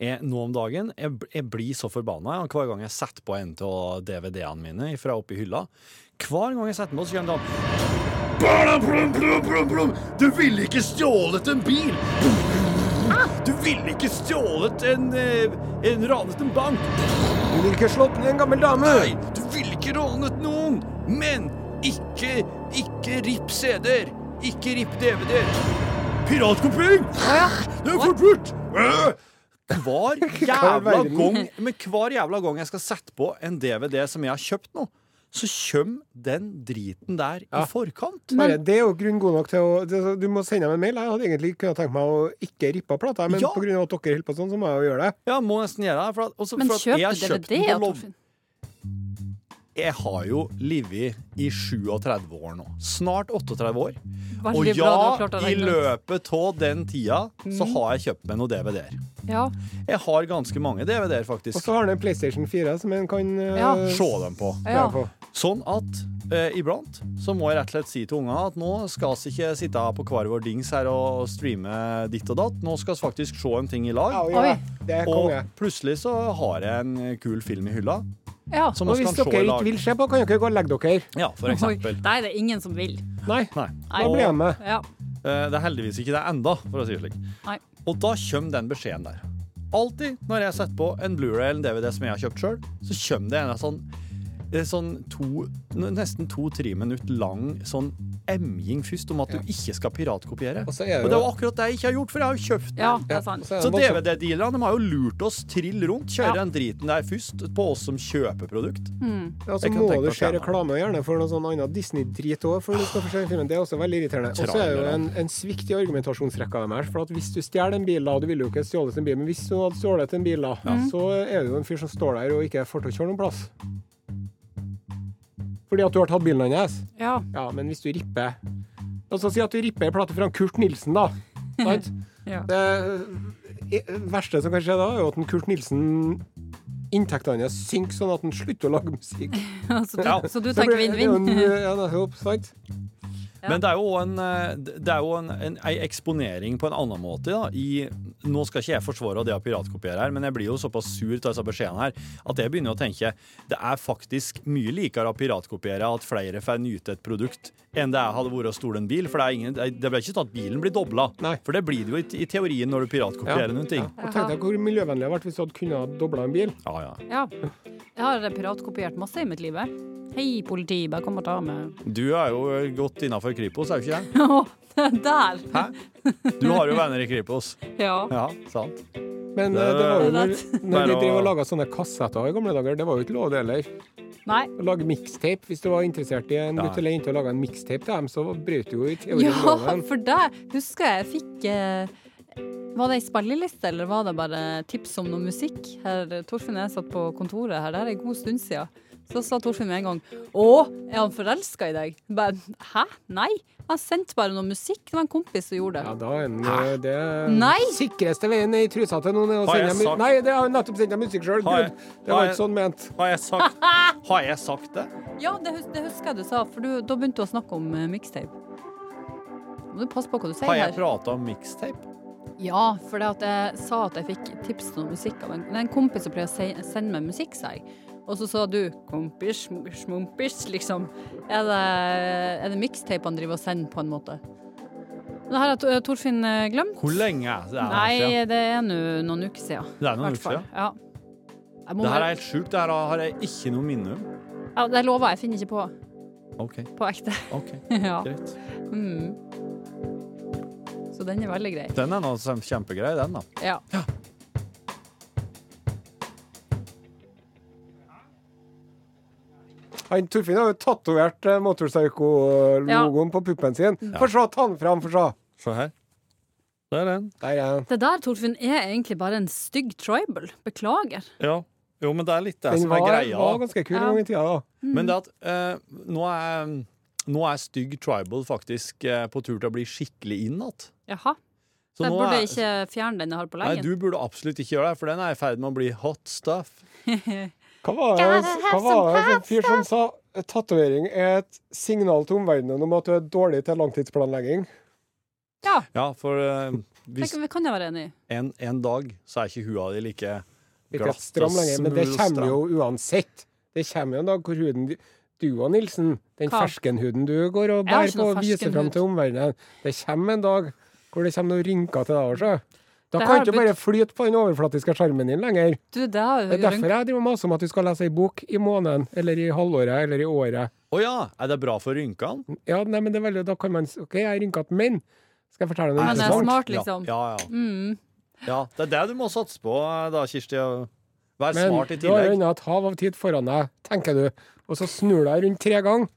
Speaker 3: jeg, nå om dagen jeg, bl- jeg blir så forbanna jeg, hver gang jeg setter på en av DVD-ene mine fra oppi hylla. Hver gang jeg setter på, så kommer det sånn Bada, blum, blum, blum, blum. Du ville ikke stjålet en bil! Du ville ikke stjålet en, eh, en ranet en bank!
Speaker 2: Du vil ikke slått ned en gammel dame!
Speaker 3: Nei, du ville ikke rånet noen! Men ikke, ikke ripp CD-er! Ikke ripp DVD-er! Piratkopiering! Det er forbudt! Øh! Hver jævla
Speaker 2: verden.
Speaker 3: gang Men hver jævla gang jeg skal sette på en DVD som jeg har kjøpt nå, så kommer den driten der i forkant.
Speaker 2: Bare, det er jo grunn god nok til å det- Du må sende meg en mail. Jeg hadde egentlig kunnet tenkt meg å ikke rippe av plata, men
Speaker 3: Ja.
Speaker 2: på grunn av at dere holder på sånn, så må jeg jo gjøre det.
Speaker 3: Ja, må nesten gjøre det. For at, også,
Speaker 4: Men
Speaker 3: for at
Speaker 4: kjøp
Speaker 3: jeg har kjøpt
Speaker 4: DVD,
Speaker 3: den på
Speaker 4: ja,
Speaker 3: lov-
Speaker 4: Torfinn.
Speaker 3: Jeg har jo livet i 37 år nå. Snart 38 år. Og
Speaker 4: Veldig bra du har
Speaker 3: ja,
Speaker 4: klart å
Speaker 3: i
Speaker 4: regne ut. Mm.
Speaker 3: løpet av den tida så har jeg kjøpt meg noen DVD-er.
Speaker 4: Ja.
Speaker 3: Jeg har ganske mange DVD-er,
Speaker 2: Og
Speaker 3: faktisk.
Speaker 2: så har han en PlayStation 4 som han kan eh,
Speaker 4: Ja.
Speaker 3: Se dem på.
Speaker 2: prøve
Speaker 4: ja.
Speaker 2: på.
Speaker 3: Sånn at eh, iblant så må jeg rett og slett si til ungene at nå skal vi ikke sitte på hver vår dings her og streame ditt og datt. Nå skal vi faktisk se en ting i
Speaker 2: Ja,
Speaker 3: lag.
Speaker 2: og gjør
Speaker 4: Oi.
Speaker 2: det. Det er
Speaker 3: Og
Speaker 2: konge.
Speaker 3: plutselig så har jeg en kul film i hylla
Speaker 4: ja.
Speaker 3: som
Speaker 2: Og
Speaker 3: vi
Speaker 2: hvis
Speaker 3: kan se
Speaker 2: dere
Speaker 3: i
Speaker 2: ikke
Speaker 3: lag.
Speaker 2: vil se på, kan dere gå og legge dere.
Speaker 3: Ja, for
Speaker 4: Oi.
Speaker 3: eksempel.
Speaker 4: Nei, det er ingen som vil.
Speaker 2: Nei,
Speaker 3: Nei.
Speaker 4: Nei.
Speaker 2: da blir jeg med.
Speaker 4: Ja.
Speaker 3: Eh, Det er heldigvis ikke det enda, for å si det slik.
Speaker 4: Nei.
Speaker 3: Og da kommer den beskjeden der. Alltid når jeg setter på en Blu-ray eller en DVD som jeg har kjøpt sjøl, så kommer det en sånn, eh, sånn to, n- nesten to-tre minutt lang sånn emjing først om at du ikke skal piratkopiere.
Speaker 2: Og
Speaker 3: Og
Speaker 2: så er
Speaker 3: det er
Speaker 2: det
Speaker 3: jo akkurat det jeg ikke har gjort, for jeg har jo kjøpt den.
Speaker 4: ja, det er
Speaker 2: Ja, altså, og
Speaker 4: sant.
Speaker 2: så er
Speaker 3: Så
Speaker 2: det voldsomt.
Speaker 3: DVD-dealerne de har jo lurt oss trill rundt. Kjører
Speaker 4: Ja.
Speaker 3: den driten der først på oss som kjøper produkt.
Speaker 2: Ja, så altså,
Speaker 3: Jeg kan
Speaker 2: må
Speaker 3: tenke
Speaker 2: du
Speaker 3: meg å
Speaker 2: se
Speaker 3: fjerne den.
Speaker 2: reklame gjerne for noe sånn annet Disney-drit òg, før du skal få se filmen. Det er også veldig irriterende. Og så er det jo
Speaker 3: Trailere.
Speaker 2: en, en svikt i argumentasjonsrekka deres. For at hvis du stjeler en bil, da, og du ville jo ikke stjålet en bil, men hvis du hadde stjålet en bil, da, så er det jo en fyr som står der og ikke får til å kjøre noen plass. Fordi at du har tatt bilen hans.
Speaker 4: Ja.
Speaker 2: Ja, men hvis du ripper Altså si at du ripper en plate fra Kurt Nilsen, da. Sant?
Speaker 4: Ja.
Speaker 2: Det eh, verste som kan skje da, er jo at en Kurt Nilsen Inntektene hans synker sånn at han slutter å lage musikk.
Speaker 4: Så, du,
Speaker 3: Ja.
Speaker 4: så du
Speaker 2: Det
Speaker 4: tenker
Speaker 2: blir- det er jo
Speaker 4: vinn-vinn?
Speaker 2: en, Ja, nettopp. Sant?
Speaker 4: Ja.
Speaker 3: Men det er jo en, eh, det er jo en, en, ei eksponering på en annen måte. Da, i, nå skal ikke jeg forsvare det å piratkopiere her, men jeg blir jo såpass sur av disse beskjedene her at jeg begynner å tenke det er faktisk mye likere å piratkopiere at flere får nyte et produkt, enn det hadde vært å stole en bil. For det, er ingen, det blir ikke sånn at bilen blir dobla.
Speaker 2: Nei.
Speaker 3: For det blir det jo i, i teorien når
Speaker 2: Ja.
Speaker 3: du piratkopierer noen ting.
Speaker 2: Og tenk deg hvor miljøvennlig det hadde vært hvis du hadde kunnet ha dobla en bil.
Speaker 3: Ja, ja.
Speaker 4: Ja. Jeg har piratkopiert masse i mitt liv. jeg. Hei, politi, bare kom og ta meg.
Speaker 3: Du er jo eh, godt innafor Kripos, er du ikke det?
Speaker 4: Å, der!
Speaker 3: Hæ? Du har jo venner i Kripos.
Speaker 4: Ja.
Speaker 3: Ja, sant.
Speaker 2: Men eh, det var jo
Speaker 4: Det-
Speaker 2: når,
Speaker 3: Bare
Speaker 2: når vi drev
Speaker 3: å-
Speaker 2: og laga sånne kassetter i gamle dager, det var jo ikke lov det heller.
Speaker 4: Nei.
Speaker 2: Å lage mixtape, hvis du var interessert i en
Speaker 3: Ja.
Speaker 2: gutt eller jente og laga en mixtape til dem, så brøt du jo i teorien
Speaker 4: Ja,
Speaker 2: loven.
Speaker 4: for der husker jeg jeg fikk eh, Var det ei spilleliste, eller var det bare tips om noe musikk? Her, Torfinn og jeg satt på kontoret her, det her er en god stund siden. Så sa Torfinn med en gang Å, er han forelska i deg? Jeg Bare, Hæ? Nei. Han sendte bare noe musikk. Det var en kompis som gjorde
Speaker 2: Ja,
Speaker 4: det.
Speaker 2: da er den, eh, det er
Speaker 4: Nei!
Speaker 2: sikreste veien i trusa til noen er å
Speaker 3: Har jeg
Speaker 2: sende dem
Speaker 3: sagt-
Speaker 2: Nei, det har jeg nettopp sendt deg musikk sjøl.
Speaker 3: Har jeg-
Speaker 2: Det
Speaker 3: har
Speaker 2: var
Speaker 3: jeg-
Speaker 2: ikke sånn ment.
Speaker 3: Har jeg sagt, har jeg sagt det?
Speaker 4: Ja, det, hus det husker jeg du sa, for du, da begynte du å snakke om uh, mixtape. Må du passe på hva du sier
Speaker 3: Har jeg
Speaker 4: her.
Speaker 3: prata om mixtape?
Speaker 4: Ja, for det at jeg sa at jeg fikk tips til noe musikk av en, det er en kompis som pleier å se- sende meg musikk, sa jeg. Og så sa du 'kompis, smumpis, smumpis', liksom. Er det, er det mixtape han driver og sender, på en måte? Det her har Tor- Torfinn eh, glemt.
Speaker 3: Hvor lenge? er Det her siden?
Speaker 4: Nei, eh, det er nå noen uker siden.
Speaker 3: Det er noen
Speaker 4: i hvert
Speaker 3: uker siden.
Speaker 4: fall. Ja. Jeg, må
Speaker 3: Det her er
Speaker 4: bare-
Speaker 3: helt sjukt. Det her har jeg ikke noe minne om.
Speaker 4: ja, det lover jeg, jeg finner ikke på.
Speaker 3: OK,
Speaker 4: På ekte.
Speaker 3: ok,
Speaker 4: ja.
Speaker 3: greit.
Speaker 4: mm. Så den er veldig grei.
Speaker 3: Den er nå sem- kjempegrei, den, da.
Speaker 4: Ja.
Speaker 2: Han Torfinn har jo tatovert eh, Motorpsycho-logoen på puppen sin. Få se, ta den fram, få se.
Speaker 3: Se her. Der er den.
Speaker 2: Der er den.
Speaker 4: Det der, Torfinn, er egentlig bare en stygg tribal. Beklager.
Speaker 3: Ja. Jo, men det er litt det
Speaker 2: Den
Speaker 3: som
Speaker 2: var,
Speaker 3: er greia. da.
Speaker 2: var ganske kul en gang i tida, da.
Speaker 3: Men det at eh, nå, er, nå er stygg tribal faktisk eh, på tur til å bli skikkelig inn igjen.
Speaker 4: Jaha.
Speaker 3: Så
Speaker 4: Så jeg
Speaker 3: nå
Speaker 4: burde
Speaker 3: er-
Speaker 4: ikke fjerne den jeg har på
Speaker 3: Nei,
Speaker 4: leggen.
Speaker 3: du burde absolutt ikke gjøre det, for den er i ferd med å bli hot stuff.
Speaker 2: Hva var det hva var det en fyr som sa tatovering er et signal til omverdenen om at du er dårlig til langtidsplanlegging?
Speaker 4: Ja,
Speaker 3: Ja, for eh, hvis
Speaker 4: det kan jeg være enig i.
Speaker 3: en, en dag så er ikke hua di like
Speaker 2: Ikke
Speaker 3: glatt
Speaker 2: stram
Speaker 3: og
Speaker 2: lenger, men det
Speaker 3: smooth og
Speaker 2: kommer jo uansett. Det kommer jo en dag hvor huden di- du og Nilsen, den
Speaker 4: Hva?
Speaker 2: ferskenhuden du går og
Speaker 4: Jeg har
Speaker 2: bærer
Speaker 4: ikke
Speaker 2: på
Speaker 4: noe
Speaker 2: og viser fram
Speaker 4: ferskenhud.
Speaker 2: til omverdenen, det kommer en dag hvor det kommer noen rynker til deg også. Da
Speaker 4: Det
Speaker 2: kan
Speaker 4: har
Speaker 2: ikke du
Speaker 4: blitt-
Speaker 2: bare flyte på den overflatiske skjermen din lenger.
Speaker 4: Du, det har
Speaker 2: Det er
Speaker 4: jo
Speaker 2: derfor jeg driver og maser om at du skal lese ei bok i måneden, eller i halvåret, eller i året.
Speaker 3: Å ja! Er det bra for rynkene?
Speaker 2: Ja, nei, men det er veldig, da kan man s- OK, jeg er rynkete, men skal jeg fortelle noe
Speaker 4: Men det er
Speaker 2: interessant?
Speaker 4: smart, liksom.
Speaker 3: Ja, ja, ja. ja. Det er det du må satse på da, Kirsti. å Være
Speaker 2: Men
Speaker 3: smart i
Speaker 2: du har jo
Speaker 3: tillegg.
Speaker 2: ennå et hav av tid foran deg, tenker du. Og så snur du deg rundt tre ganger.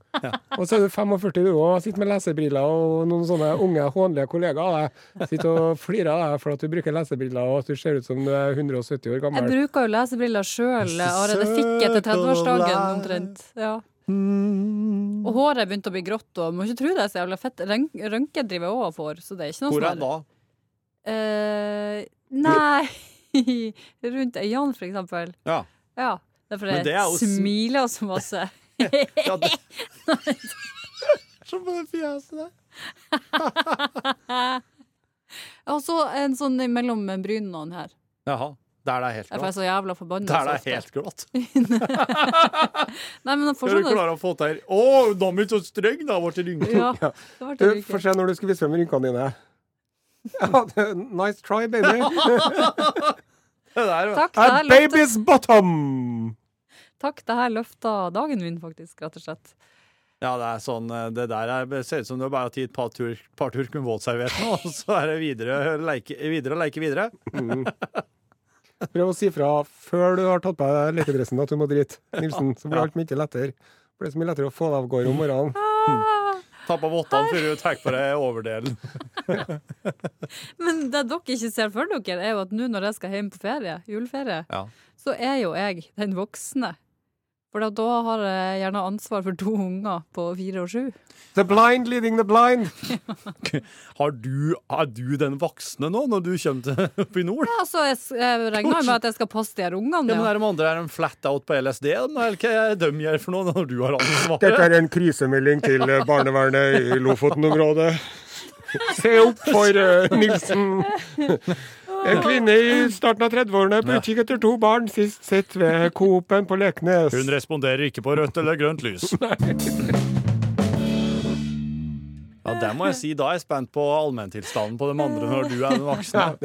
Speaker 2: Og så er du 45 du òg, sitter med lesebriller og noen sånne unge, hånlige kollegaer av deg. Sitter og flirer av deg for at du bruker lesebriller og at du ser ut som du er 170 år
Speaker 4: Jeg
Speaker 2: gammel.
Speaker 4: bruker jo lesebriller sjøl. Are, det fikk jeg etter 30-årsdagen omtrent. Ja.
Speaker 3: Mm.
Speaker 4: Og håret begynte å bli grått og må ikke tro det er så jævla fett. Røn- Rønke driver jeg òg for, så det er ikke noe
Speaker 3: Hvor er da?
Speaker 4: sånn Eh, nei Rundt øynene, for eksempel.
Speaker 3: Ja.
Speaker 4: Ja. Derfor
Speaker 3: Men
Speaker 4: jeg
Speaker 3: det er jo sm-
Speaker 4: smiler så masse.
Speaker 3: ja det... Se på det fjeset der.
Speaker 4: Og så en sånn mellom brynene her.
Speaker 3: Jaha. Der det er helt
Speaker 4: Jeg sånn- er
Speaker 3: glatt.
Speaker 4: så jævla forbanna.
Speaker 3: Der det
Speaker 4: så ofte.
Speaker 3: er helt glatt.
Speaker 4: Nei, men jeg
Speaker 3: Er du
Speaker 4: forstår det.
Speaker 3: klar å få til Å, da er vi så streng, da! Ble det rynke?
Speaker 4: sånn- Ja, det ble
Speaker 2: Du,
Speaker 4: det
Speaker 2: Få
Speaker 4: ikke.
Speaker 2: se når du skal vise frem rynkene dine. Ja, det- nice try, baby.
Speaker 3: Det der, vet du.
Speaker 4: Takk, det
Speaker 2: At
Speaker 4: her løfta,
Speaker 2: baby's bottom!
Speaker 4: takk, det her løfta dagen min, faktisk, rett og slett.
Speaker 3: Ja, det er sånn eh, Det der er, det ser ut som du bare har tatt et par, tur, par turk med våtservietten, og så er det videre leike videre. Leike videre.
Speaker 2: Prøv å si fra før du har tatt på deg lekedressen at du må drite, Nilsen. Så blir alt mye lettere. Det blir så mye lettere å få deg av gårde om morgenen.
Speaker 4: Ah,
Speaker 3: Ta på vottene før du tar på deg overdelen.
Speaker 4: Men det dere ikke ser for dere, er jo at nå når jeg skal hjem på ferie, juleferie,
Speaker 3: Ja.
Speaker 4: så er jo jeg den voksne. For da- da har jeg gjerne ansvar for to unger på fire og sju.
Speaker 2: The blind leading the blind.
Speaker 3: Har du, er du den voksne nå, når du kommer til oppe i nord?
Speaker 4: Ja, altså, jeg, s- jeg regner jo med at jeg skal passe de her ungene.
Speaker 3: Ja, men
Speaker 4: Ja.
Speaker 3: er de andre er de flat out på LSD? Eller hva er det de gjør for noe når du har
Speaker 2: Dette
Speaker 3: ansvaret?
Speaker 2: er en krisemelding til eh, barnevernet i Lofoten-området. Se opp for eh, Nilsen. En kvinne i starten av 30-årene på utkikk etter to barn, sist sett ved Coop-en på Leknes.
Speaker 3: Hun responderer ikke på rødt eller grønt lys. Ja, det må jeg si. Da er jeg spent på allmenntilstanden på de andre når du er den voksne.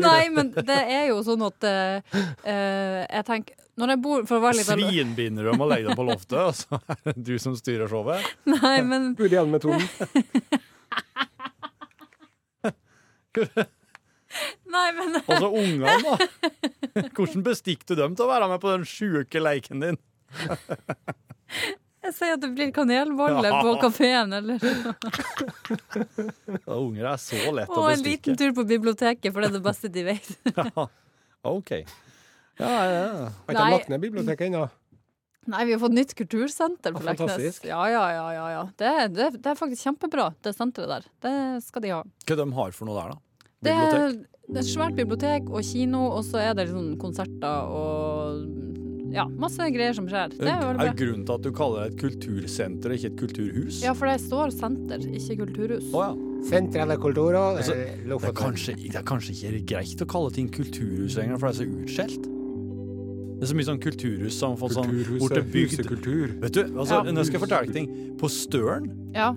Speaker 4: Nei, men det er jo sånn at eh, eh, jeg tenker Når jeg bor For å være litt alvorlig-
Speaker 3: Svinbinder du om å legge deg på loftet, og så er det du som styrer showet?
Speaker 4: Nei, men
Speaker 2: Bor igjen med Tom.
Speaker 4: Nei, men
Speaker 3: Og så ungene, da. Hvordan bestikk du dem til å være med på den sjuke leiken din?
Speaker 4: jeg sier at det blir kanelbolle på kafeen, eller
Speaker 3: Ja, Unger er så lett å
Speaker 4: Og en liten
Speaker 3: bestikke.
Speaker 4: tur på biblioteket, for det er det beste de vet.
Speaker 3: OK. Ja, ja, ja.
Speaker 2: Har ikke
Speaker 4: Nei.
Speaker 2: lagt ned biblioteket ennå.
Speaker 4: Nei, vi har fått nytt kultursenter på
Speaker 2: Ja,
Speaker 4: Leknes.
Speaker 2: fantastisk.
Speaker 4: Ja, ja, ja. ja, ja. Det, det, det er faktisk kjempebra, det senteret der. Det skal de ha.
Speaker 3: Hva de har for noe der, da?
Speaker 4: Det er,
Speaker 3: Bibliotek?
Speaker 4: det er svært bibliotek og kino, og så er det liksom konserter og ja, masse greier som skjer. Det er
Speaker 3: er,
Speaker 4: veldig bra.
Speaker 3: grunnen til at du kaller det et kultursenter og ikke et kulturhus?
Speaker 4: Ja, for det står senter, ikke kulturhus.
Speaker 3: Å ja.
Speaker 2: Sentrale kulturer
Speaker 3: Altså,
Speaker 2: eh,
Speaker 3: Det er,
Speaker 2: Lofoten.
Speaker 3: kanskje, det er kanskje ikke greit å kalle ting kulturhus lenger, for det er så utskjelt. Det er så mye sånn kulturhus som har fått sånn bort til bygd.
Speaker 2: kultur.
Speaker 3: Vet du, altså,
Speaker 4: Ja.
Speaker 3: nå skal jeg fortelle deg ting. På Støren,
Speaker 4: Ja.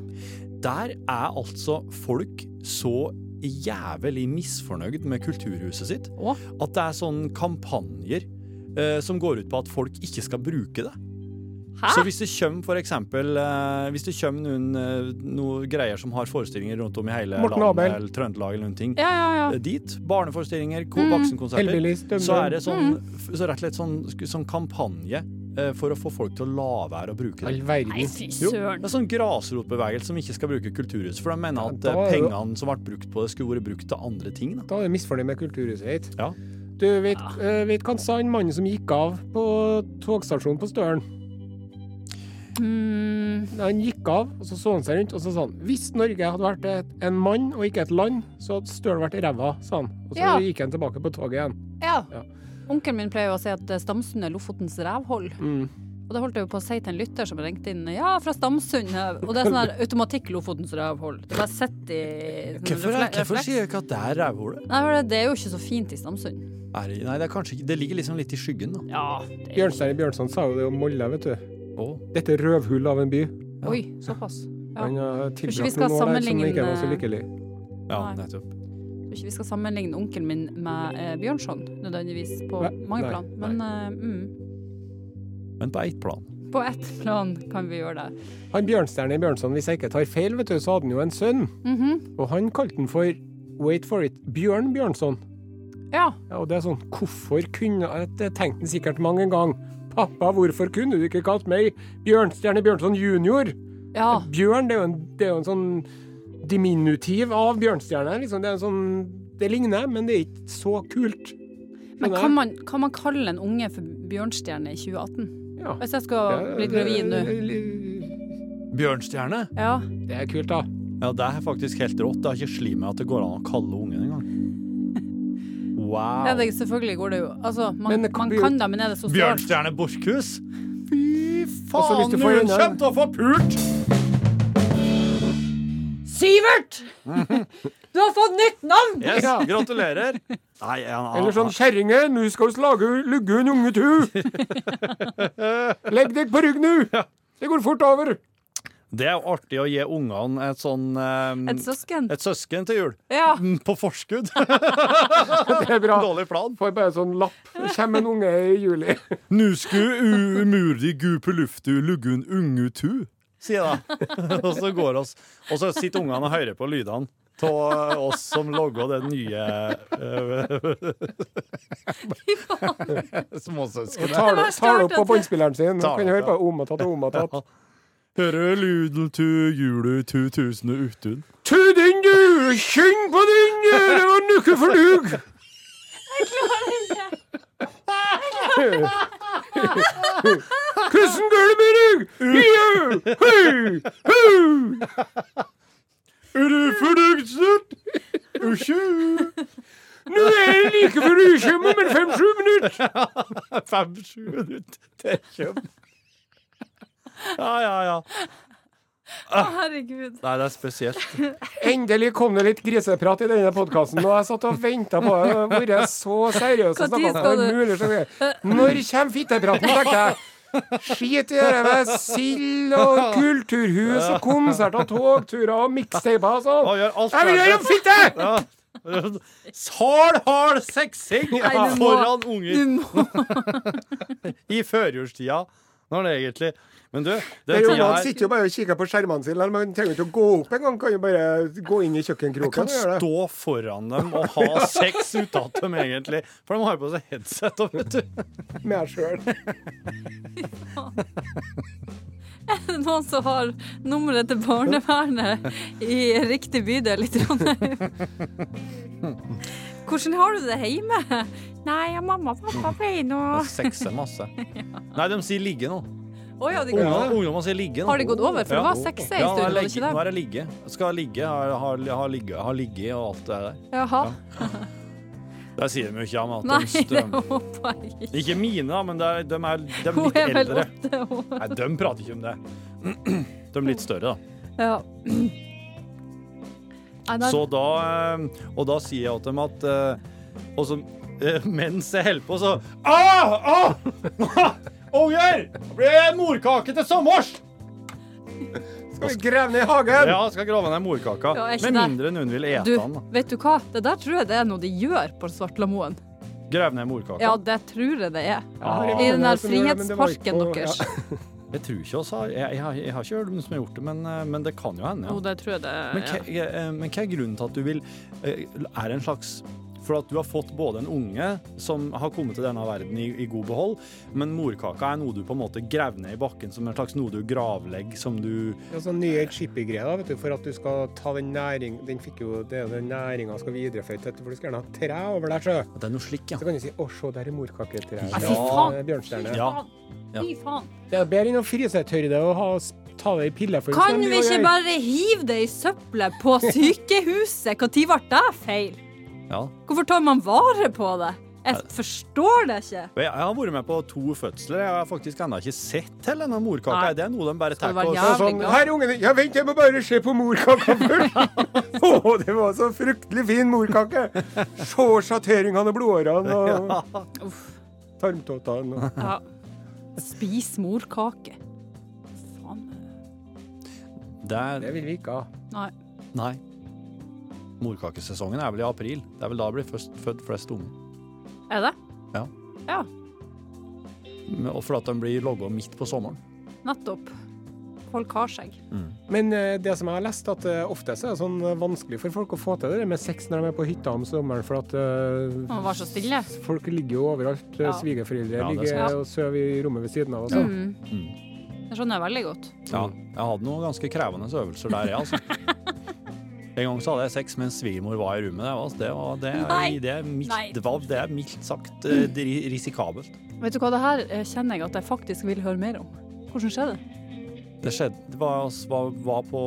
Speaker 3: der er altså folk så jævlig misfornøyd med kulturhuset sitt
Speaker 4: Å.
Speaker 3: at det er sånne kampanjer eh, som går ut på at folk ikke skal bruke det.
Speaker 4: Hæ?
Speaker 3: Så hvis det kommer for eksempel eh, Hvis det kommer noen, eh, noen greier som har forestillinger rundt om i hele
Speaker 2: Morten Abel.
Speaker 3: landet, eller Trøndelag eller noen ting,
Speaker 4: Ja, ja, ja.
Speaker 3: eh, dit, barneforestillinger, ko-
Speaker 4: Mm.
Speaker 3: voksenkonserter,
Speaker 2: Hellbillies, Dum
Speaker 3: så er det sånn, f- så rett og slett sånn, sku- sånn kampanje eh, for å få folk til å la være å bruke det.
Speaker 2: All verden.
Speaker 4: Nei, fy
Speaker 3: Jo, det
Speaker 4: søren.
Speaker 3: er sånn grasrotbevegelse som ikke skal bruke kulturhus, for de mener at
Speaker 2: Ja, da
Speaker 3: eh,
Speaker 2: er det-
Speaker 3: pengene som ble brukt på det, skulle vært brukt til andre ting. Da.
Speaker 2: Da er du misfornøyd med kulturhuset ditt.
Speaker 3: Ja.
Speaker 2: Du vet, eh, vet hva han sa, han mannen som gikk av på togstasjonen på Støren?
Speaker 4: Mm,
Speaker 2: Nei, Han gikk av, og så så han seg rundt, og så sa han hvis Norge hadde vært et, en mann og ikke et land, så hadde Stølen vært ræva, sa han. Og så
Speaker 4: Ja.
Speaker 2: gikk han tilbake på toget igjen.
Speaker 4: ja.
Speaker 2: Ja.
Speaker 4: Onkelen min pleier jo å si at eh, Stamsund er Lofotens rævhold.
Speaker 2: Mm.
Speaker 4: Og det holdt jeg jo på å si til en lytter som ringte inn Ja, fra Stamsund. her». Og det er sånn her automatikk Lofotens rævhold. Det bare sitter i sånn
Speaker 3: Hvorfor,
Speaker 4: refle-
Speaker 3: hvorfor
Speaker 4: refleks.
Speaker 3: sier jeg ikke at det er rævhålet?
Speaker 4: Nei, for det- det er jo ikke så fint i Stamsund.
Speaker 3: Er det- Nei, det, er kanskje, ikke- det ligger liksom litt i skyggen, da.
Speaker 4: Ja, det er
Speaker 2: Bjørnstein Bjørnson sa jo det om Molla, vet du.
Speaker 3: Å.
Speaker 2: Dette røvhullet av en by.
Speaker 4: Oi, såpass. Ja.
Speaker 2: Han har
Speaker 4: ikke vi
Speaker 2: tilbrakt
Speaker 4: skal
Speaker 2: noen år der som
Speaker 4: sammenligne-
Speaker 2: ikke var så lykkelig.
Speaker 3: Ja,
Speaker 4: Nei.
Speaker 3: nettopp.
Speaker 4: Jeg tror ikke vi skal sammenligne onkelen min med eh, Bjørnson nødvendigvis på
Speaker 2: Nei,
Speaker 4: mange
Speaker 2: nei,
Speaker 4: plan, men eh,
Speaker 3: Men på ett plan.
Speaker 4: mm, på ett plan kan vi gjøre det.
Speaker 2: Han Bjørnstjerne Bjørnson, hvis jeg ikke tar feil, vet du, så hadde han jo en sønn,
Speaker 4: Mhm.
Speaker 2: og han kalte han for Wait for it, Bjørn Bjørnson.
Speaker 4: Ja.
Speaker 2: Ja, og det er sånn, hvorfor kunne Det tenkte han sikkert mange ganger. Pappa, hvorfor kunne du ikke kalt meg Bjørnstjerne Bjørnson junior?
Speaker 4: ja.
Speaker 2: Bjørn, det er jo en, det er jo en sånn diminutiv av bjørnstjerne. Liksom. Det, er en sånn, det ligner, men det er ikke så kult.
Speaker 4: Men
Speaker 2: Skjønner
Speaker 4: kan
Speaker 2: jeg?
Speaker 4: man, kan man kalle en unge for bjørnstjerne i 2018?
Speaker 2: Ja.
Speaker 4: Hvis jeg skal bli gravid nå.
Speaker 3: Bjørnstjerne?
Speaker 4: Ja.
Speaker 2: Det er kult, da.
Speaker 3: Ja, det er faktisk helt rått. Det har ikke slitt meg at det går an å kalle ungen engang.
Speaker 4: Ja,
Speaker 3: Wow.
Speaker 4: det, selvfølgelig går det jo. Altså, man,
Speaker 2: Men det kan
Speaker 4: man
Speaker 2: bli-
Speaker 4: kan det, men er det så stort?
Speaker 3: Bjørnstjerne Borchhus? Fy
Speaker 2: Altså,
Speaker 3: faen,
Speaker 2: hvis du
Speaker 3: hun
Speaker 2: får en-
Speaker 3: kommer til å få pult!
Speaker 4: Sivert! Du har fått nytt navn!
Speaker 3: Yes, gratulerer. Nei, han, han,
Speaker 2: Eller sånn 'Kjerringe, nå skal vi lage lugge en unge tu'. Legg deg på rygg nå! Det går fort over.
Speaker 3: Det er jo artig å gi ungene et sånn eh,
Speaker 4: Et søsken.
Speaker 3: et søsken til jul.
Speaker 4: Ja.
Speaker 3: Mm, På forskudd.
Speaker 2: Det er bra.
Speaker 3: Dårlig plan.
Speaker 2: Får bare sånn lapp. Kommer en unge i juli.
Speaker 3: Nu sku umurdi gu på luftu luggun ungu tu, sier jeg da. og så går oss, og så sitter ungene og hører på lydene av oss som logger det nye eh, Småsøskenet.
Speaker 2: Tar det tar
Speaker 4: verste jeg har
Speaker 2: det opp på
Speaker 4: hørt, altså.
Speaker 2: båndspilleren sin.
Speaker 3: Tar
Speaker 2: Kan
Speaker 3: det
Speaker 2: høre
Speaker 3: opp,
Speaker 2: på om og tatt og om og tatt.
Speaker 3: Hører lyden tu julu tu tusen og utun.
Speaker 2: Tu din, du! Kjenn på din, du! Det var nukke for dug! Hvordan går det med deg? Jau! Hei! Hei!
Speaker 3: Er du fornøyd snart? Usju!
Speaker 2: Nå er jeg like før du kommer om en fem-sju minutter.
Speaker 3: Fem-sju minutter til kjøp. Ja, ja, ja.
Speaker 4: Å, Herregud.
Speaker 3: Nei, det er spesielt.
Speaker 2: Endelig kom det litt griseprat i denne podkasten, og jeg satt og venta på det. Jeg har vært så seriøs og
Speaker 4: Hva tid
Speaker 2: snakka
Speaker 4: skal
Speaker 2: om alt mulig. som er. Når kommer fittepraten, tenkte jeg. Skit i det med sild og kulturhus og konserter og togturer og mixtaper og
Speaker 3: Og
Speaker 2: sånn.
Speaker 3: gjør alt
Speaker 2: Jeg vil
Speaker 3: klart.
Speaker 2: høre om fitte!
Speaker 3: Ja. Hard, hard sexing
Speaker 4: Nei, du må-
Speaker 3: foran
Speaker 4: Du
Speaker 3: unger
Speaker 4: må
Speaker 3: i førjulstida. Når det egentlig Men du,
Speaker 2: Det
Speaker 3: den
Speaker 2: er jo,
Speaker 3: tida
Speaker 2: man
Speaker 3: her
Speaker 2: sitter jo bare og kikker på skjermene sine. eller Man trenger ikke å gå opp engang. Kan jo bare gå inn i kjøkkenkroken
Speaker 3: kan
Speaker 2: og gjøre det.
Speaker 3: stå foran dem og ha sex ut av dem, egentlig. For de har jo på seg headset. Og, vet du.
Speaker 2: Med meg sjøl.
Speaker 4: det noen som har nummeret til barnevernet i riktig bydel i Trondheim? Hvordan har du det hjemme? Nei, ja, mamma og pappa pleier nå
Speaker 3: Jeg sexer masse. Nei, de sier ligge nå.
Speaker 4: Å ja, de går
Speaker 3: Ungdom,
Speaker 4: over.
Speaker 3: ungdommer sier ligge nå.
Speaker 4: Har de gått over? For det
Speaker 3: Ja.
Speaker 4: var seks ei
Speaker 3: Ja, nå
Speaker 4: stund,
Speaker 3: er
Speaker 4: var det
Speaker 3: legge-
Speaker 4: ikke
Speaker 3: Nå
Speaker 4: det?
Speaker 3: er det ligge. Skal ligge, har, har, har ligge, har ligge og alt det der.
Speaker 4: Jaha.
Speaker 3: Der sier de jo ikke ja, men
Speaker 4: Nei,
Speaker 3: at de
Speaker 4: det
Speaker 3: strømmer.
Speaker 4: håper jeg ikke.
Speaker 3: Ikke mine, da, men det er, de er, de er
Speaker 4: Hun
Speaker 3: litt
Speaker 4: er vel
Speaker 3: eldre.
Speaker 4: åtte år.
Speaker 3: Nei, de prater ikke om det. De er litt større, da.
Speaker 4: Ja. Nei, da-
Speaker 3: Så da eh, Og da sier jeg til dem at eh, Og så eh, mens jeg holder på, så ah, ah! Unger! Det blir morkake til sommers!
Speaker 2: Skal vi grave ned hagen?
Speaker 3: Ja, jeg skal grave ned morkaka.
Speaker 4: Ja, er ikke
Speaker 3: Med
Speaker 4: det-
Speaker 3: mindre noen vil ete
Speaker 4: du,
Speaker 3: den. da.
Speaker 4: vet du hva? Det der tror jeg det er noe de gjør på Svartlamoen.
Speaker 3: Grave ned morkaka.
Speaker 4: Ja, det tror jeg det er.
Speaker 2: har jeg
Speaker 4: I den der
Speaker 2: venner som gjør det, men det var ikke
Speaker 4: frihetsparken
Speaker 2: på-
Speaker 4: deres.
Speaker 2: Ja.
Speaker 3: Jeg tror ikke oss har jeg, jeg, har- jeg har ikke hørt om noen som har gjort det, men, eh, men det kan jo hende.
Speaker 4: Jo,
Speaker 3: Ja.
Speaker 4: det tror jeg det er.
Speaker 3: Men, hva, eh, men hva er grunnen til at du vil eh, Er det en slags For at du har fått både en unge som har kommet til denne verden i, i god behold, men morkaka er noe du på en måte graver ned i bakken som en slags noe du gravlegger som du
Speaker 2: Ja, sånn nye chippy-greier, da, vet du, for at du skal ta den næring... Den fikk jo det er den næringa skal videreføre til, for du skal gjerne ha tre over der, sjø.
Speaker 3: Det er noe slikk, ja.
Speaker 2: Så kan du si 'Å, se, der er morkaketreet'.
Speaker 4: Ja, fy
Speaker 2: Ja,
Speaker 4: faen.
Speaker 2: Bjørnstjerne.
Speaker 3: Ja. Ja.
Speaker 4: Fy faen.
Speaker 2: Det er bedre enn å fryse et tørre og ha, ta det i piller for
Speaker 4: Kan
Speaker 2: sånn,
Speaker 4: vi
Speaker 2: oi,
Speaker 4: ikke
Speaker 2: oi.
Speaker 4: bare hive det i søppelet på sykehuset? Når ble det feil?
Speaker 3: ja.
Speaker 4: Hvorfor tar man vare på det? Jeg forstår det ikke.
Speaker 3: Og Jeg, jeg har vært med på to fødsler. Jeg har faktisk ennå ikke sett til denne morkaka.
Speaker 4: Nei.
Speaker 3: Er det noe de bare tar
Speaker 4: Skal det være
Speaker 3: og
Speaker 2: Det
Speaker 4: jævlig?
Speaker 2: var sånn, Her, ungen din! Ja, vent, jeg må bare se på morkaka først! Å, det var så fryktelig fin morkake! Se sjatteringene og blodårene og tarmtottene og
Speaker 4: Ja. Spis morkake. Faen.
Speaker 3: Det er
Speaker 2: Det vil vi ikke ha.
Speaker 4: Nei.
Speaker 3: Nei. Morkakesesongen er vel i april. Det er vel da blir først født flest unger.
Speaker 4: Er det?
Speaker 3: Ja.
Speaker 4: Ja,
Speaker 3: Men- Og for at de blir logga midt på sommeren.
Speaker 4: nettopp. Folk har seg.
Speaker 2: Men eh, det som jeg har lest, at eh, ofte så er det sånn eh, vanskelig for folk å få til det der med sex når de er på hytta om sommeren, for at eh,
Speaker 4: Man var så stille.
Speaker 2: folk ligger jo overalt. Eh,
Speaker 4: Ja.
Speaker 2: Svigerforeldre
Speaker 3: Ja, det
Speaker 2: ligger
Speaker 4: sant.
Speaker 2: og sover i rommet ved siden av sånn. oss.
Speaker 4: Mm. Det skjønner jeg veldig godt.
Speaker 3: Ja, jeg hadde noen ganske krevende øvelser der, jeg, altså. En gang så hadde jeg sex mens svigermor var i rommet. Det var, det var, det,
Speaker 4: Nei.
Speaker 3: det, er mildt,
Speaker 4: Nei.
Speaker 3: det, var, det er mildt sagt eh, ri- risikabelt.
Speaker 4: Vet du hva, det her eh, kjenner jeg at jeg faktisk vil høre mer om. Hvordan skjer det?
Speaker 3: Det skjedde det var, altså, var, var, på,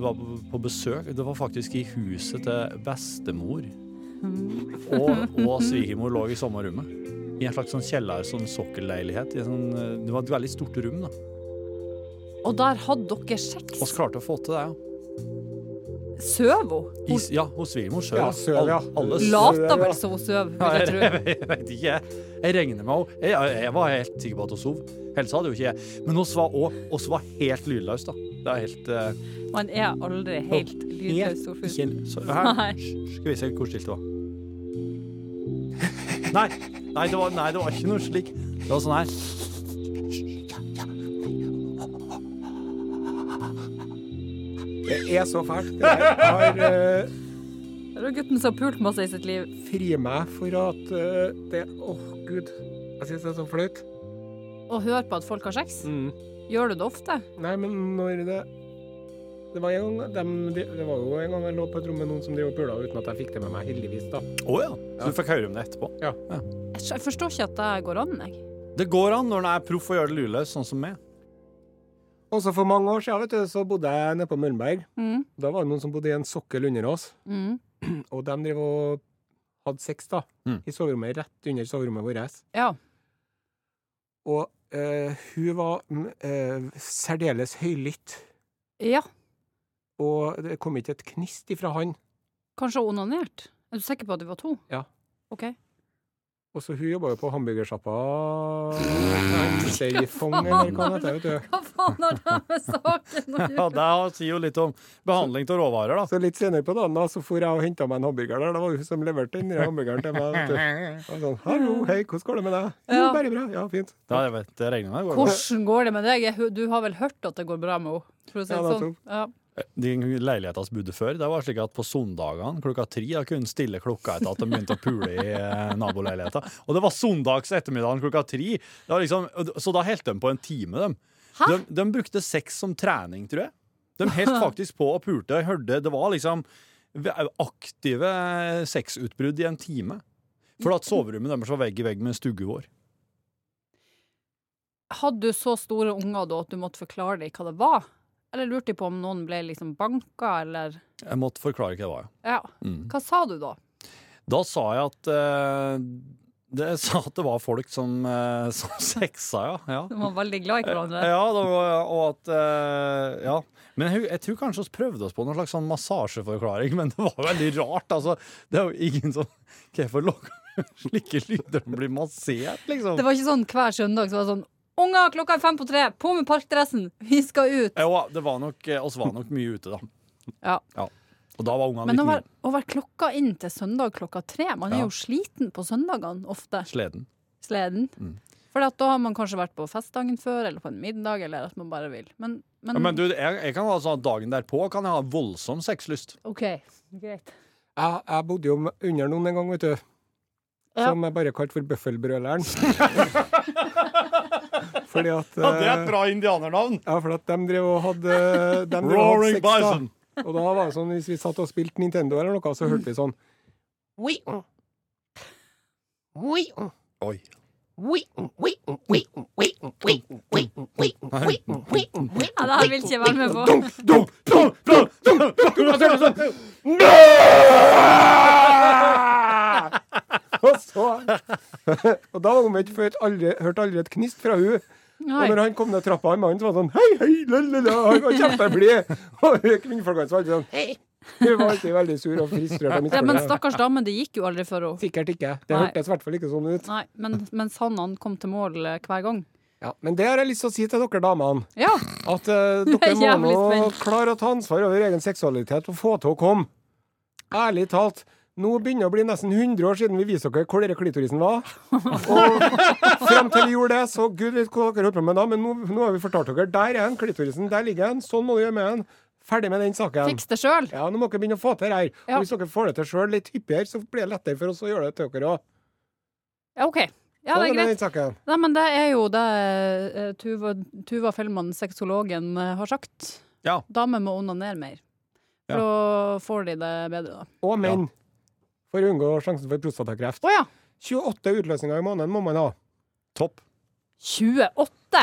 Speaker 3: var på besøk Det var faktisk i huset til bestemor. Og, og svigermor lå i samme rommet. I en slags sånn kjeller, sånn sokkelleilighet. i en Sånn, eh, det var et veldig stort rom, da.
Speaker 4: Og der hadde dere sex.
Speaker 3: Vi klarte å få til det, ja.
Speaker 4: Søv hun?
Speaker 3: I, ja, hos svigermor sjøl.
Speaker 2: Ja, søv, ja.
Speaker 3: Alle, alle
Speaker 4: Lata vel så hun søv, vil jeg tro.
Speaker 3: Jeg, jeg vet ikke. jeg. Jeg regner med henne. Jeg, jeg var helt sikker på at hun sov. Helst hadde jo ikke jeg. Men oss var også, oss var helt lydløs, da. Det er helt eh,
Speaker 4: Man er aldri helt lydløs
Speaker 3: helt-
Speaker 4: storfugl.
Speaker 3: ikke en- så, her,
Speaker 4: Nei.
Speaker 3: Skal vi se hvor stilt det var. Nei, nei, det var, nei, det var ikke noe slik. Det var sånn her.
Speaker 2: Det er så fælt. Det der. Jeg har eh,
Speaker 4: Det er jo gutten som har pult masse i sitt liv.
Speaker 2: fri meg for at eh, det Åh, gud. Jeg syns det er så flaut.
Speaker 4: Og hør på at folk har sex.
Speaker 2: Mm.
Speaker 4: Gjør du det ofte?
Speaker 2: Nei, men når det det var, en gang, dem- de, det var jo en gang jeg lå på et rom med noen som drev og pula uten at jeg fikk det med meg, heldigvis. da.
Speaker 3: Å ja. Så du fikk høre om det etterpå?
Speaker 4: Jeg skj- Jeg forstår ikke at det går an, jeg.
Speaker 3: Det går an når en er proff og gjør det lydløs, sånn som meg.
Speaker 2: Og så for mange år siden vet du, så bodde jeg nede på Møllenberg.
Speaker 4: Mm.
Speaker 2: Da var det noen som bodde i en sokkel under oss,
Speaker 4: Mm.
Speaker 2: og de drev og hadde sex da,
Speaker 3: Mm.
Speaker 2: i soverommet, rett under soverommet vårt.
Speaker 4: Ja.
Speaker 2: Og eh, hun var mm, eh, særdeles høylytt,
Speaker 4: ja.
Speaker 2: og det kom ikke et knist ifra han.
Speaker 4: Kanskje onanert? Er du sikker på at det var to?
Speaker 2: Ja.
Speaker 4: OK.
Speaker 2: Og så hun jobba jo på hamburgersjappa Hamsterfong, eller hva det heter, vet du.
Speaker 4: Hva faen har det med saken å
Speaker 3: Ja, Det sier jo litt om behandling av råvarer, da.
Speaker 2: Så litt senere på dagen da, så for jeg og henta meg en hamburger der. Det var hun som leverte den der hamburgeren til meg. vet du. Jeg var sånn, Hallo, hei, hvordan går det med deg? Jo,
Speaker 4: Ja.
Speaker 2: bare bra. Ja, fint.
Speaker 3: Ja, jeg vet, det regner med det går bra.
Speaker 4: Hvordan går det med deg? Jeg hø- Du har vel hørt at det går bra med henne? For å si
Speaker 2: Ja,
Speaker 4: det
Speaker 2: nettopp.
Speaker 4: sånn. Ja.
Speaker 3: De leilighetene som bodde før, det var slik at på søndagene klokka tre da kunne en stille klokka etter at de begynte å pule i eh, naboleiligheten. Og det var søndags ettermiddagen klokka tre. Det var liksom, så da holdt de på en time, dem. De, de brukte sex som trening, tror jeg. De holdt faktisk på og pulte. Jeg hørte det var liksom aktive sexutbrudd i en time. For at soverommet deres var vegg i vegg med stugua vår.
Speaker 4: Hadde du så store unger da at du måtte forklare dem hva det var? Eller lurte de på om noen ble liksom banka, eller
Speaker 3: Jeg måtte forklare hva det var.
Speaker 4: Ja.
Speaker 3: Mm.
Speaker 4: Hva sa du da?
Speaker 3: Da sa jeg at eh, det, jeg sa at det var folk som, eh, som sexa, ja. ja.
Speaker 4: De var veldig glad i hverandre.
Speaker 3: Ja, det var, og at eh, Ja. Men jeg, jeg tror kanskje vi prøvde oss på noen slags sånn massasjeforklaring, men det var veldig rart. Altså, det er jo ingen som Hvorfor lager vi slike lyder og blir massert, liksom?
Speaker 4: Det var ikke sånn hver søndag så var det sånn Unger, klokka er fem på tre! På med parkdressen! Vi skal ut!
Speaker 3: Jo, det var nok eh, oss var nok mye ute, da.
Speaker 4: Ja.
Speaker 3: Og da var ungene
Speaker 4: Men
Speaker 3: litt
Speaker 4: å
Speaker 3: mye
Speaker 4: være, å være klokka inn til søndag klokka tre Man er
Speaker 3: Ja.
Speaker 4: jo sliten på søndagene ofte.
Speaker 3: sleden.
Speaker 4: Sleden.
Speaker 3: Mm.
Speaker 4: For da har man kanskje vært på fest dagen før, eller på en middag, eller at man bare vil. Men, men,
Speaker 3: Ja, men du, jeg, jeg kan ha sånn at dagen derpå kan jeg ha voldsom sexlyst.
Speaker 4: OK,
Speaker 2: Jeg,
Speaker 4: greit.
Speaker 2: jeg bodde jo med- under noen en gang, vet du.
Speaker 4: Ja.
Speaker 2: Som jeg bare kalte for Bøffelbrøleren. Fordi at eh,
Speaker 3: bra indianernavn!
Speaker 2: Ja, for at de drev og hadde de drev og hadde
Speaker 3: Roaring
Speaker 2: sex, da.
Speaker 3: Bison.
Speaker 2: Og da var det sånn, hvis vi satt og spilte Nintendo eller noe, så hørte vi sånn
Speaker 3: Oi.
Speaker 4: Ja, det her vil ikke jeg være med på.
Speaker 2: Og så Og da var hun ikke før aldri, hørte aldri et knist fra hun Og når
Speaker 4: Nei.
Speaker 2: han kom ned trappa, han mannen, så var han sånn Hei, hei, lalala. Han var kjempeblid. Og hun kvinnfolkene så var alltid sånn Hei. Hun var alltid veldig sur og frustrert. av mitt
Speaker 4: Ja, men
Speaker 2: forhold.
Speaker 4: stakkars dame, det gikk jo aldri for henne.
Speaker 2: Sikkert ikke. Det
Speaker 4: Nei.
Speaker 2: hørtes i hvert fall ikke sånn ut.
Speaker 4: Nei, men, mens han ankom til mål eh, hver gang.
Speaker 2: Ja, men det har jeg lyst til å si til dere damene.
Speaker 4: Ja,
Speaker 2: At eh, dere
Speaker 4: Jeg er
Speaker 2: må
Speaker 4: jævlig
Speaker 2: nå
Speaker 4: spent.
Speaker 2: klare å ta ansvar over egen seksualitet og få til å komme. Ærlig talt. Nå begynner det å bli nesten 100 år siden vi viste dere hvor dere klitorisen var. Og frem til vi gjorde det, så gud vet hva dere holdt på med da, men nå, nå har vi fortalt dere. Der er den, klitorisen. Der ligger den. Sånn må du gjøre med den. Ferdig med den saken.
Speaker 4: fiks det sjøl!
Speaker 2: Ja, nå må dere begynne å få til det her.
Speaker 4: Ja.
Speaker 2: Og hvis dere får det til sjøl litt hyppigere, så blir det lettere for oss å gjøre det til dere òg.
Speaker 4: Ja, OK. Ja, det er greit. Nei, men det er jo det eh, Tuva, Tuva Fellmann, sexologen, eh, har sagt.
Speaker 3: Ja.
Speaker 4: Damer må onanere mer.
Speaker 3: Ja.
Speaker 4: For da får de det bedre, da.
Speaker 2: Og menn. For å unngå sjansen for prostatakreft.
Speaker 4: Å ja!
Speaker 2: 28 utløsninger i måneden må man ha.
Speaker 3: Topp.
Speaker 4: 28!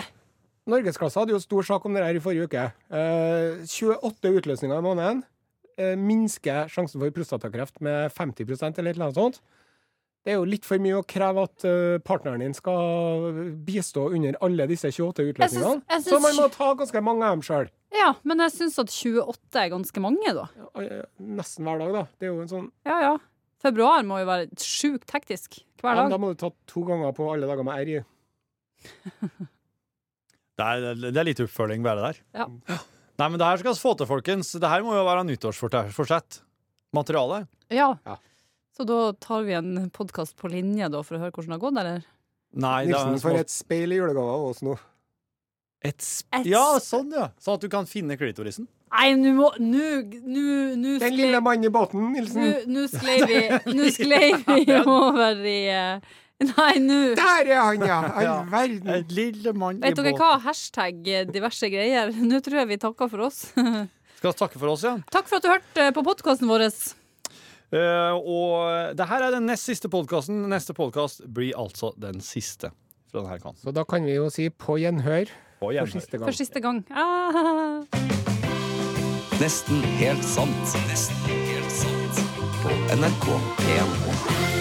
Speaker 2: Norgesklasse hadde jo stor sak om det her i forrige uke. Eh, 28 utløsninger i måneden eh, minsker sjansen for prostatakreft med 50 eller et eller annet sånt. Det er jo litt for mye å kreve at eh, partneren din skal bistå under alle disse 28
Speaker 4: Jeg syns-
Speaker 2: utløsningene.
Speaker 4: jeg
Speaker 2: Så
Speaker 4: syns-
Speaker 2: man må ta ganske mange av dem sjøl.
Speaker 4: Ja, men jeg syns at 28 er ganske mange, da.
Speaker 2: Nesten hver dag, da. Det er jo en sånn
Speaker 4: Ja ja. Februar må jo være sjukt hektisk hver
Speaker 2: Ja, men
Speaker 4: dag.
Speaker 2: Da må du ta to ganger på alle dager med R i.
Speaker 3: Det er, det er litt oppfølging bare der.
Speaker 4: Ja.
Speaker 3: Nei, men det her skal vi få til, folkens. Det her må jo være nyttårsforsett. Materiale.
Speaker 4: Ja.
Speaker 2: Ja.
Speaker 4: Så da tar vi en podkast på linje da for å høre hvordan det har gått, eller?
Speaker 3: Nei, det er sånn-
Speaker 2: Nilsen får et speil i julegave av oss nå.
Speaker 3: et sp- Ja, sånn, ja. Sånn at du kan finne klitorisen.
Speaker 4: Nei, nå må Nå nå- nå
Speaker 2: Den
Speaker 4: sklei-
Speaker 2: lille mannen i båten, Nilsen.
Speaker 4: Nå- Nå sklei vi, nå sklei vi over i eh, Nei, nå
Speaker 2: Der er han, ja!
Speaker 3: Ja.
Speaker 2: All verden.
Speaker 3: lille mann
Speaker 4: Vet dere hva? Hashtag eh, diverse greier. Nå tror jeg vi takker for oss. Takk
Speaker 3: Skal vi takke for oss, ja.
Speaker 4: for at du hørte på podkasten vår.
Speaker 3: Eh, og det her er den nest siste podkasten. Neste podkast blir altså den siste fra denne kanten.
Speaker 2: Så da kan vi jo si på gjenhør
Speaker 3: På
Speaker 2: for
Speaker 3: gjenhør.
Speaker 2: siste gang.
Speaker 4: For siste gang. Ah.
Speaker 1: Nesten helt sant. Nesten helt sant. På NRK1.